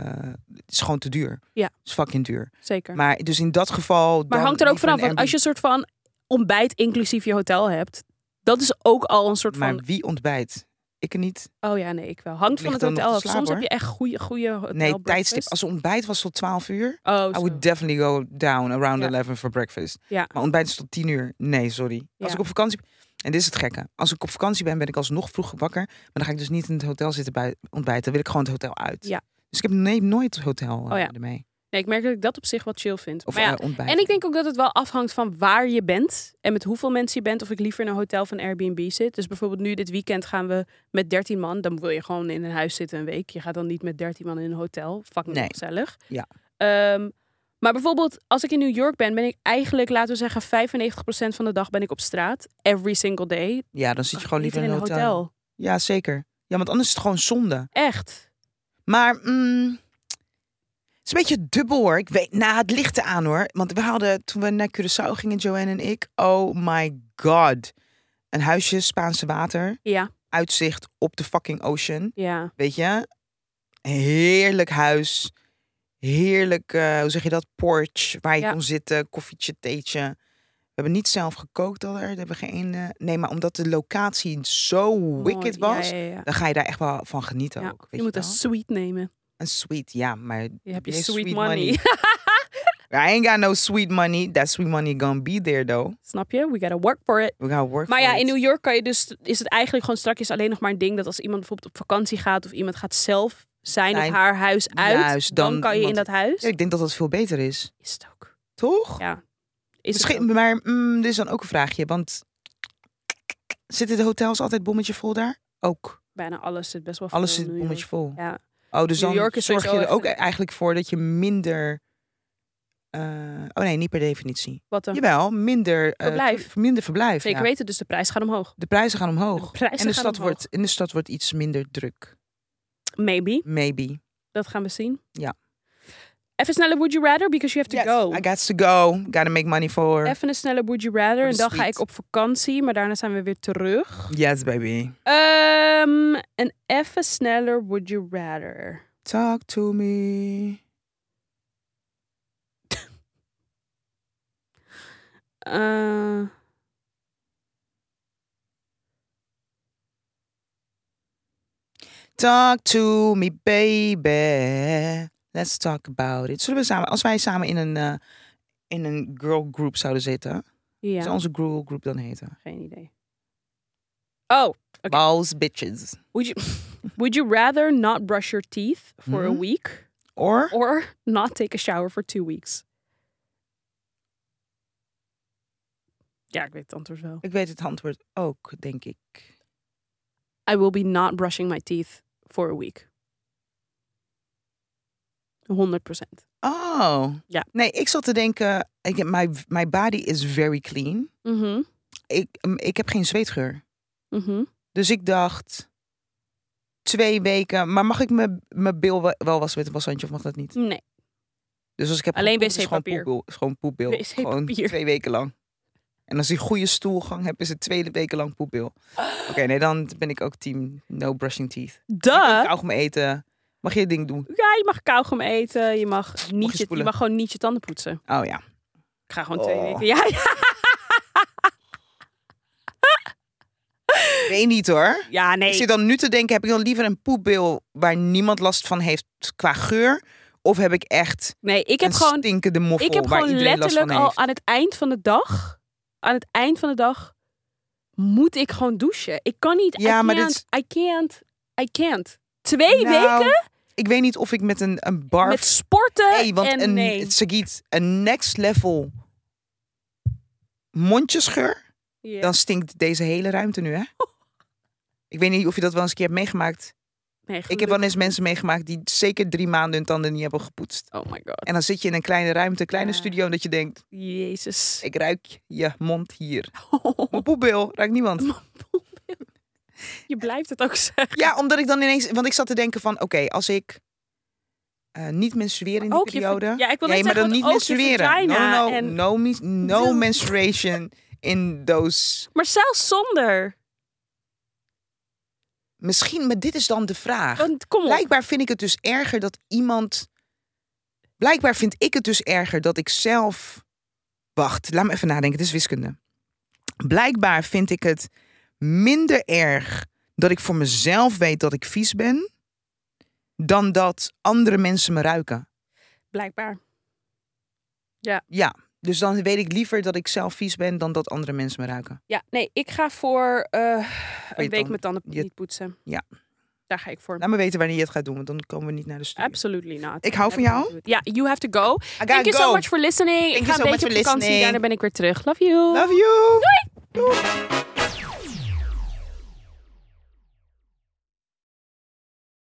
[SPEAKER 2] het is gewoon te duur.
[SPEAKER 1] Ja.
[SPEAKER 2] Het is fucking duur.
[SPEAKER 1] Zeker. Maar,
[SPEAKER 2] Maar dus in dat geval. dan
[SPEAKER 1] hangt er ook
[SPEAKER 2] liever
[SPEAKER 1] vanaf,
[SPEAKER 2] een
[SPEAKER 1] want als je
[SPEAKER 2] Airbnb.
[SPEAKER 1] een soort van ontbijt inclusief je hotel hebt, dat is ook al een soort van,
[SPEAKER 2] Maar wie ontbijt? Ik niet.
[SPEAKER 1] oh ja, nee, ik wel. Hangt van het
[SPEAKER 2] Ligt dan nog
[SPEAKER 1] hotel
[SPEAKER 2] te
[SPEAKER 1] af.
[SPEAKER 2] slapen,
[SPEAKER 1] Soms heb
[SPEAKER 2] hoor.
[SPEAKER 1] je echt goede, goede hotel
[SPEAKER 2] Nee, tijdstip.
[SPEAKER 1] breakfast.
[SPEAKER 2] Als ontbijt was tot 12 uur.
[SPEAKER 1] Oh,
[SPEAKER 2] I
[SPEAKER 1] zo.
[SPEAKER 2] would definitely go down around
[SPEAKER 1] Ja.
[SPEAKER 2] 11 for breakfast.
[SPEAKER 1] Ja.
[SPEAKER 2] Maar ontbijt is tot 10 uur. Nee, sorry.
[SPEAKER 1] Ja.
[SPEAKER 2] Als ik op vakantie En dit is het gekke. Als ik op vakantie ben, ben ik alsnog vroeg wakker. Maar dan ga ik dus niet in het hotel zitten bij ontbijten. Dan wil ik gewoon het hotel uit.
[SPEAKER 1] Ja.
[SPEAKER 2] Dus ik heb nee, nooit het hotel eh,
[SPEAKER 1] Oh ja.
[SPEAKER 2] ermee.
[SPEAKER 1] Nee, ik merk dat ik dat op zich wel chill vind.
[SPEAKER 2] Of
[SPEAKER 1] maar ja,
[SPEAKER 2] eh, ontbijt.
[SPEAKER 1] en ik denk ook dat het wel afhangt van waar je bent en met hoeveel mensen je bent. Of ik liever in een hotel van Airbnb zit. Dus bijvoorbeeld nu dit weekend gaan we met 13 man. Dan wil je gewoon in een huis zitten een week. Je gaat dan niet met 13 man in een hotel. Fucking
[SPEAKER 2] Nee.
[SPEAKER 1] gezellig.
[SPEAKER 2] Ja.
[SPEAKER 1] Ehm, maar bijvoorbeeld als ik in New York ben, ben ik eigenlijk, laten we zeggen, 95% van de dag ben ik op straat. Every single day.
[SPEAKER 2] Ja, dan zit je gewoon
[SPEAKER 1] Oh, Niet
[SPEAKER 2] liever in een hotel. Ja, zeker. Ja, want anders is het gewoon zonde.
[SPEAKER 1] Echt.
[SPEAKER 2] Maar mm, het is een beetje dubbel hoor. Ik weet, nou, het ligt aan hoor. Want we hadden toen we naar Curaçao gingen, Joanne en ik. Oh my god. Een huisje, Spaanse water.
[SPEAKER 1] Ja,
[SPEAKER 2] Uitzicht op de fucking ocean.
[SPEAKER 1] ja.
[SPEAKER 2] Weet je? Heerlijk huis. Heerlijk, eh, hoe zeg je dat? Porch. Waar je
[SPEAKER 1] Ja.
[SPEAKER 2] kon zitten. Koffietje, theetje. We hebben niet zelf gekookt al. daar. We hebben geen. eh, nee, maar omdat de locatie zo wicked
[SPEAKER 1] Mooi.
[SPEAKER 2] was.
[SPEAKER 1] Ja, ja, ja.
[SPEAKER 2] Dan ga je daar echt wel van genieten
[SPEAKER 1] Ja,
[SPEAKER 2] ook. Weet
[SPEAKER 1] Je moet een
[SPEAKER 2] wel?
[SPEAKER 1] suite nemen.
[SPEAKER 2] Een sweet, ja, maar
[SPEAKER 1] Je hebt je
[SPEAKER 2] Nee,
[SPEAKER 1] sweet,
[SPEAKER 2] sweet
[SPEAKER 1] money.
[SPEAKER 2] money. I ain't got no sweet money. That sweet money gonna be there though.
[SPEAKER 1] Snap je? We gotta work for it.
[SPEAKER 2] We gaan work.
[SPEAKER 1] Maar
[SPEAKER 2] for
[SPEAKER 1] ja,
[SPEAKER 2] it.
[SPEAKER 1] in New York kan je dus, is het eigenlijk gewoon strakjes alleen nog maar een ding dat als iemand bijvoorbeeld op vakantie gaat of iemand gaat zelf zijn of
[SPEAKER 2] Zijn-
[SPEAKER 1] haar huis uit,
[SPEAKER 2] Juist,
[SPEAKER 1] dan,
[SPEAKER 2] dan-
[SPEAKER 1] kan je in
[SPEAKER 2] want-
[SPEAKER 1] dat huis.
[SPEAKER 2] Ja, ik denk dat dat veel beter is,
[SPEAKER 1] Is het ook.
[SPEAKER 2] toch?
[SPEAKER 1] Ja, Is het
[SPEAKER 2] Misschien,
[SPEAKER 1] ook.
[SPEAKER 2] maar mm, dit is dan ook een vraagje, want zitten de hotels altijd bommetje vol daar? Ook.
[SPEAKER 1] bijna alles zit best wel
[SPEAKER 2] Alles
[SPEAKER 1] vol in
[SPEAKER 2] zit
[SPEAKER 1] New
[SPEAKER 2] bommetje
[SPEAKER 1] York.
[SPEAKER 2] vol.
[SPEAKER 1] Ja.
[SPEAKER 2] Oh, dus
[SPEAKER 1] New
[SPEAKER 2] dan
[SPEAKER 1] York is
[SPEAKER 2] zorg je
[SPEAKER 1] sowieso
[SPEAKER 2] er
[SPEAKER 1] echt
[SPEAKER 2] ook
[SPEAKER 1] een-
[SPEAKER 2] eigenlijk voor dat je minder. eh, oh nee, niet per definitie.
[SPEAKER 1] Wat dan?
[SPEAKER 2] Jawel, minder eh,
[SPEAKER 1] Verblijf.
[SPEAKER 2] ver- minder verblijf.
[SPEAKER 1] Zeker
[SPEAKER 2] ja.
[SPEAKER 1] weten, dus de prijs gaat omhoog.
[SPEAKER 2] De prijzen gaan omhoog.
[SPEAKER 1] De prijzen
[SPEAKER 2] en de
[SPEAKER 1] gaan
[SPEAKER 2] stad
[SPEAKER 1] omhoog.
[SPEAKER 2] wordt in de stad wordt iets minder druk.
[SPEAKER 1] Maybe.
[SPEAKER 2] Maybe.
[SPEAKER 1] Dat gaan we zien.
[SPEAKER 2] Ja.
[SPEAKER 1] Even snelle would you rather, because you have to
[SPEAKER 2] Yes,
[SPEAKER 1] go.
[SPEAKER 2] I got to go. Gotta make money for.
[SPEAKER 1] Even een snelle would you rather.
[SPEAKER 2] Voor
[SPEAKER 1] En
[SPEAKER 2] de
[SPEAKER 1] dan ga
[SPEAKER 2] suite.
[SPEAKER 1] ik op vakantie, maar daarna zijn we weer terug.
[SPEAKER 2] yes, baby.
[SPEAKER 1] Ehm, en even sneller would you rather.
[SPEAKER 2] Talk to me.
[SPEAKER 1] Eh.
[SPEAKER 2] Talk to me, baby. Let's talk about it. Zullen we samen, als wij samen in een, eh, in een girl group zouden zitten,
[SPEAKER 1] Ja,
[SPEAKER 2] zou onze girl group dan heten?
[SPEAKER 1] geen idee. Oh, Oké.
[SPEAKER 2] Balls bitches.
[SPEAKER 1] would you, would you rather not brush your teeth for a
[SPEAKER 2] Mhm.
[SPEAKER 1] week
[SPEAKER 2] Or
[SPEAKER 1] or not take a shower for two weeks? Ja, ik weet het antwoord wel.
[SPEAKER 2] ik weet het antwoord ook, denk ik.
[SPEAKER 1] I will be not brushing my teeth for a week. 100%.
[SPEAKER 2] Oh.
[SPEAKER 1] Ja.
[SPEAKER 2] Nee, ik zat te denken, ik, my, my body is very clean.
[SPEAKER 1] Mhm,
[SPEAKER 2] Ik, mm, ik heb geen zweetgeur.
[SPEAKER 1] mhm.
[SPEAKER 2] Dus ik dacht, twee weken. Maar mag ik mijn mijn bil wel, wel wassen met een washandje of mag dat niet?
[SPEAKER 1] Nee,
[SPEAKER 2] Dus als ik heb
[SPEAKER 1] Alleen
[SPEAKER 2] gepoept, is gewoon
[SPEAKER 1] wc-papier.
[SPEAKER 2] poepbil- is gewoon poepbil. Gewoon
[SPEAKER 1] Wc-papier.
[SPEAKER 2] twee weken lang. En als ik goede stoelgang heb, is het tweede weken lang poepbil. Oké, nee, dan ben ik ook team no brushing teeth.
[SPEAKER 1] duh.
[SPEAKER 2] Kauwgom eten. Mag je het ding doen?
[SPEAKER 1] Ja, je mag kauwgom eten. Je mag, niet je, je
[SPEAKER 2] spoelen.
[SPEAKER 1] mag gewoon niet je tanden poetsen.
[SPEAKER 2] Oh ja.
[SPEAKER 1] Ik ga gewoon twee
[SPEAKER 2] Oh.
[SPEAKER 1] weken. Ja, ja.
[SPEAKER 2] Weet niet hoor.
[SPEAKER 1] Ja, nee.
[SPEAKER 2] Ik zit dan nu te denken, heb ik dan liever een poepbil waar niemand last van heeft qua geur? Of heb ik echt
[SPEAKER 1] nee, ik heb
[SPEAKER 2] een
[SPEAKER 1] gewoon
[SPEAKER 2] stinkende moffel
[SPEAKER 1] Ik heb
[SPEAKER 2] waar
[SPEAKER 1] gewoon
[SPEAKER 2] iedereen last
[SPEAKER 1] letterlijk
[SPEAKER 2] van
[SPEAKER 1] al
[SPEAKER 2] heeft?
[SPEAKER 1] aan het eind van de dag, aan het eind van de dag, moet ik gewoon douchen. Ik kan niet.
[SPEAKER 2] Ja,
[SPEAKER 1] I
[SPEAKER 2] maar dit
[SPEAKER 1] can't, I can't, I can't. Twee weken
[SPEAKER 2] Nou, Ik weet niet of ik met een, een barf...
[SPEAKER 1] met sporten
[SPEAKER 2] Hey, want
[SPEAKER 1] en
[SPEAKER 2] een,
[SPEAKER 1] nee.
[SPEAKER 2] Sagiet, een next level mondjesgeur,
[SPEAKER 1] Ja.
[SPEAKER 2] dan stinkt deze hele ruimte nu, hè? Ik weet niet of je dat wel eens een keer hebt meegemaakt.
[SPEAKER 1] Nee,
[SPEAKER 2] Ik heb wel eens mensen meegemaakt die zeker drie maanden hun tanden niet hebben gepoetst.
[SPEAKER 1] Oh my god.
[SPEAKER 2] En dan zit je in een kleine ruimte, een kleine
[SPEAKER 1] Ja.
[SPEAKER 2] studio, en dat je denkt,
[SPEAKER 1] Jezus.
[SPEAKER 2] ik ruik je mond hier. Mijn poepbil, ruikt niemand.
[SPEAKER 1] Je blijft het ook zeggen.
[SPEAKER 2] Ja, omdat ik dan ineens... Want ik zat te denken van, oké, als ik eh, niet menstrueer in die
[SPEAKER 1] Ook je
[SPEAKER 2] periode...
[SPEAKER 1] vag- Ja, ik wil
[SPEAKER 2] nee,
[SPEAKER 1] net
[SPEAKER 2] maar
[SPEAKER 1] zeggen,
[SPEAKER 2] dan niet
[SPEAKER 1] want ook je
[SPEAKER 2] menstrueren. No,
[SPEAKER 1] vagina
[SPEAKER 2] no,
[SPEAKER 1] en-
[SPEAKER 2] no, mis- no
[SPEAKER 1] Wil-
[SPEAKER 2] menstruation in those...
[SPEAKER 1] Maar zelfs zonder.
[SPEAKER 2] Misschien, maar dit is dan de vraag.
[SPEAKER 1] Want kom op.
[SPEAKER 2] Blijkbaar vind ik het dus erger dat iemand... Blijkbaar vind ik het dus erger dat ik zelf... Wacht, laat me even nadenken. Het is wiskunde. Blijkbaar vind ik het minder erg dat ik voor mezelf weet dat ik vies ben... dan dat andere mensen me ruiken.
[SPEAKER 1] Blijkbaar.
[SPEAKER 2] Ja, dus dan weet ik liever dat ik zelf vies ben dan dat andere mensen me ruiken.
[SPEAKER 1] Ja, nee, ik ga voor eh, een week
[SPEAKER 2] tanden.
[SPEAKER 1] met tanden
[SPEAKER 2] Je-
[SPEAKER 1] niet poetsen.
[SPEAKER 2] Ja.
[SPEAKER 1] Daar ga ik voor.
[SPEAKER 2] Laat me weten wanneer je het gaat doen, want dan komen we niet naar de studio.
[SPEAKER 1] Absolutely not.
[SPEAKER 2] Ik hou van jou.
[SPEAKER 1] Ja, you have to go.
[SPEAKER 2] I
[SPEAKER 1] Thank you so
[SPEAKER 2] go.
[SPEAKER 1] much for listening.
[SPEAKER 2] Thank
[SPEAKER 1] ik
[SPEAKER 2] you
[SPEAKER 1] ga
[SPEAKER 2] so
[SPEAKER 1] een
[SPEAKER 2] much
[SPEAKER 1] beetje op
[SPEAKER 2] for
[SPEAKER 1] vakantie.
[SPEAKER 2] listening.
[SPEAKER 1] Daarna ben ik weer terug. Love you.
[SPEAKER 2] Love you. Doei.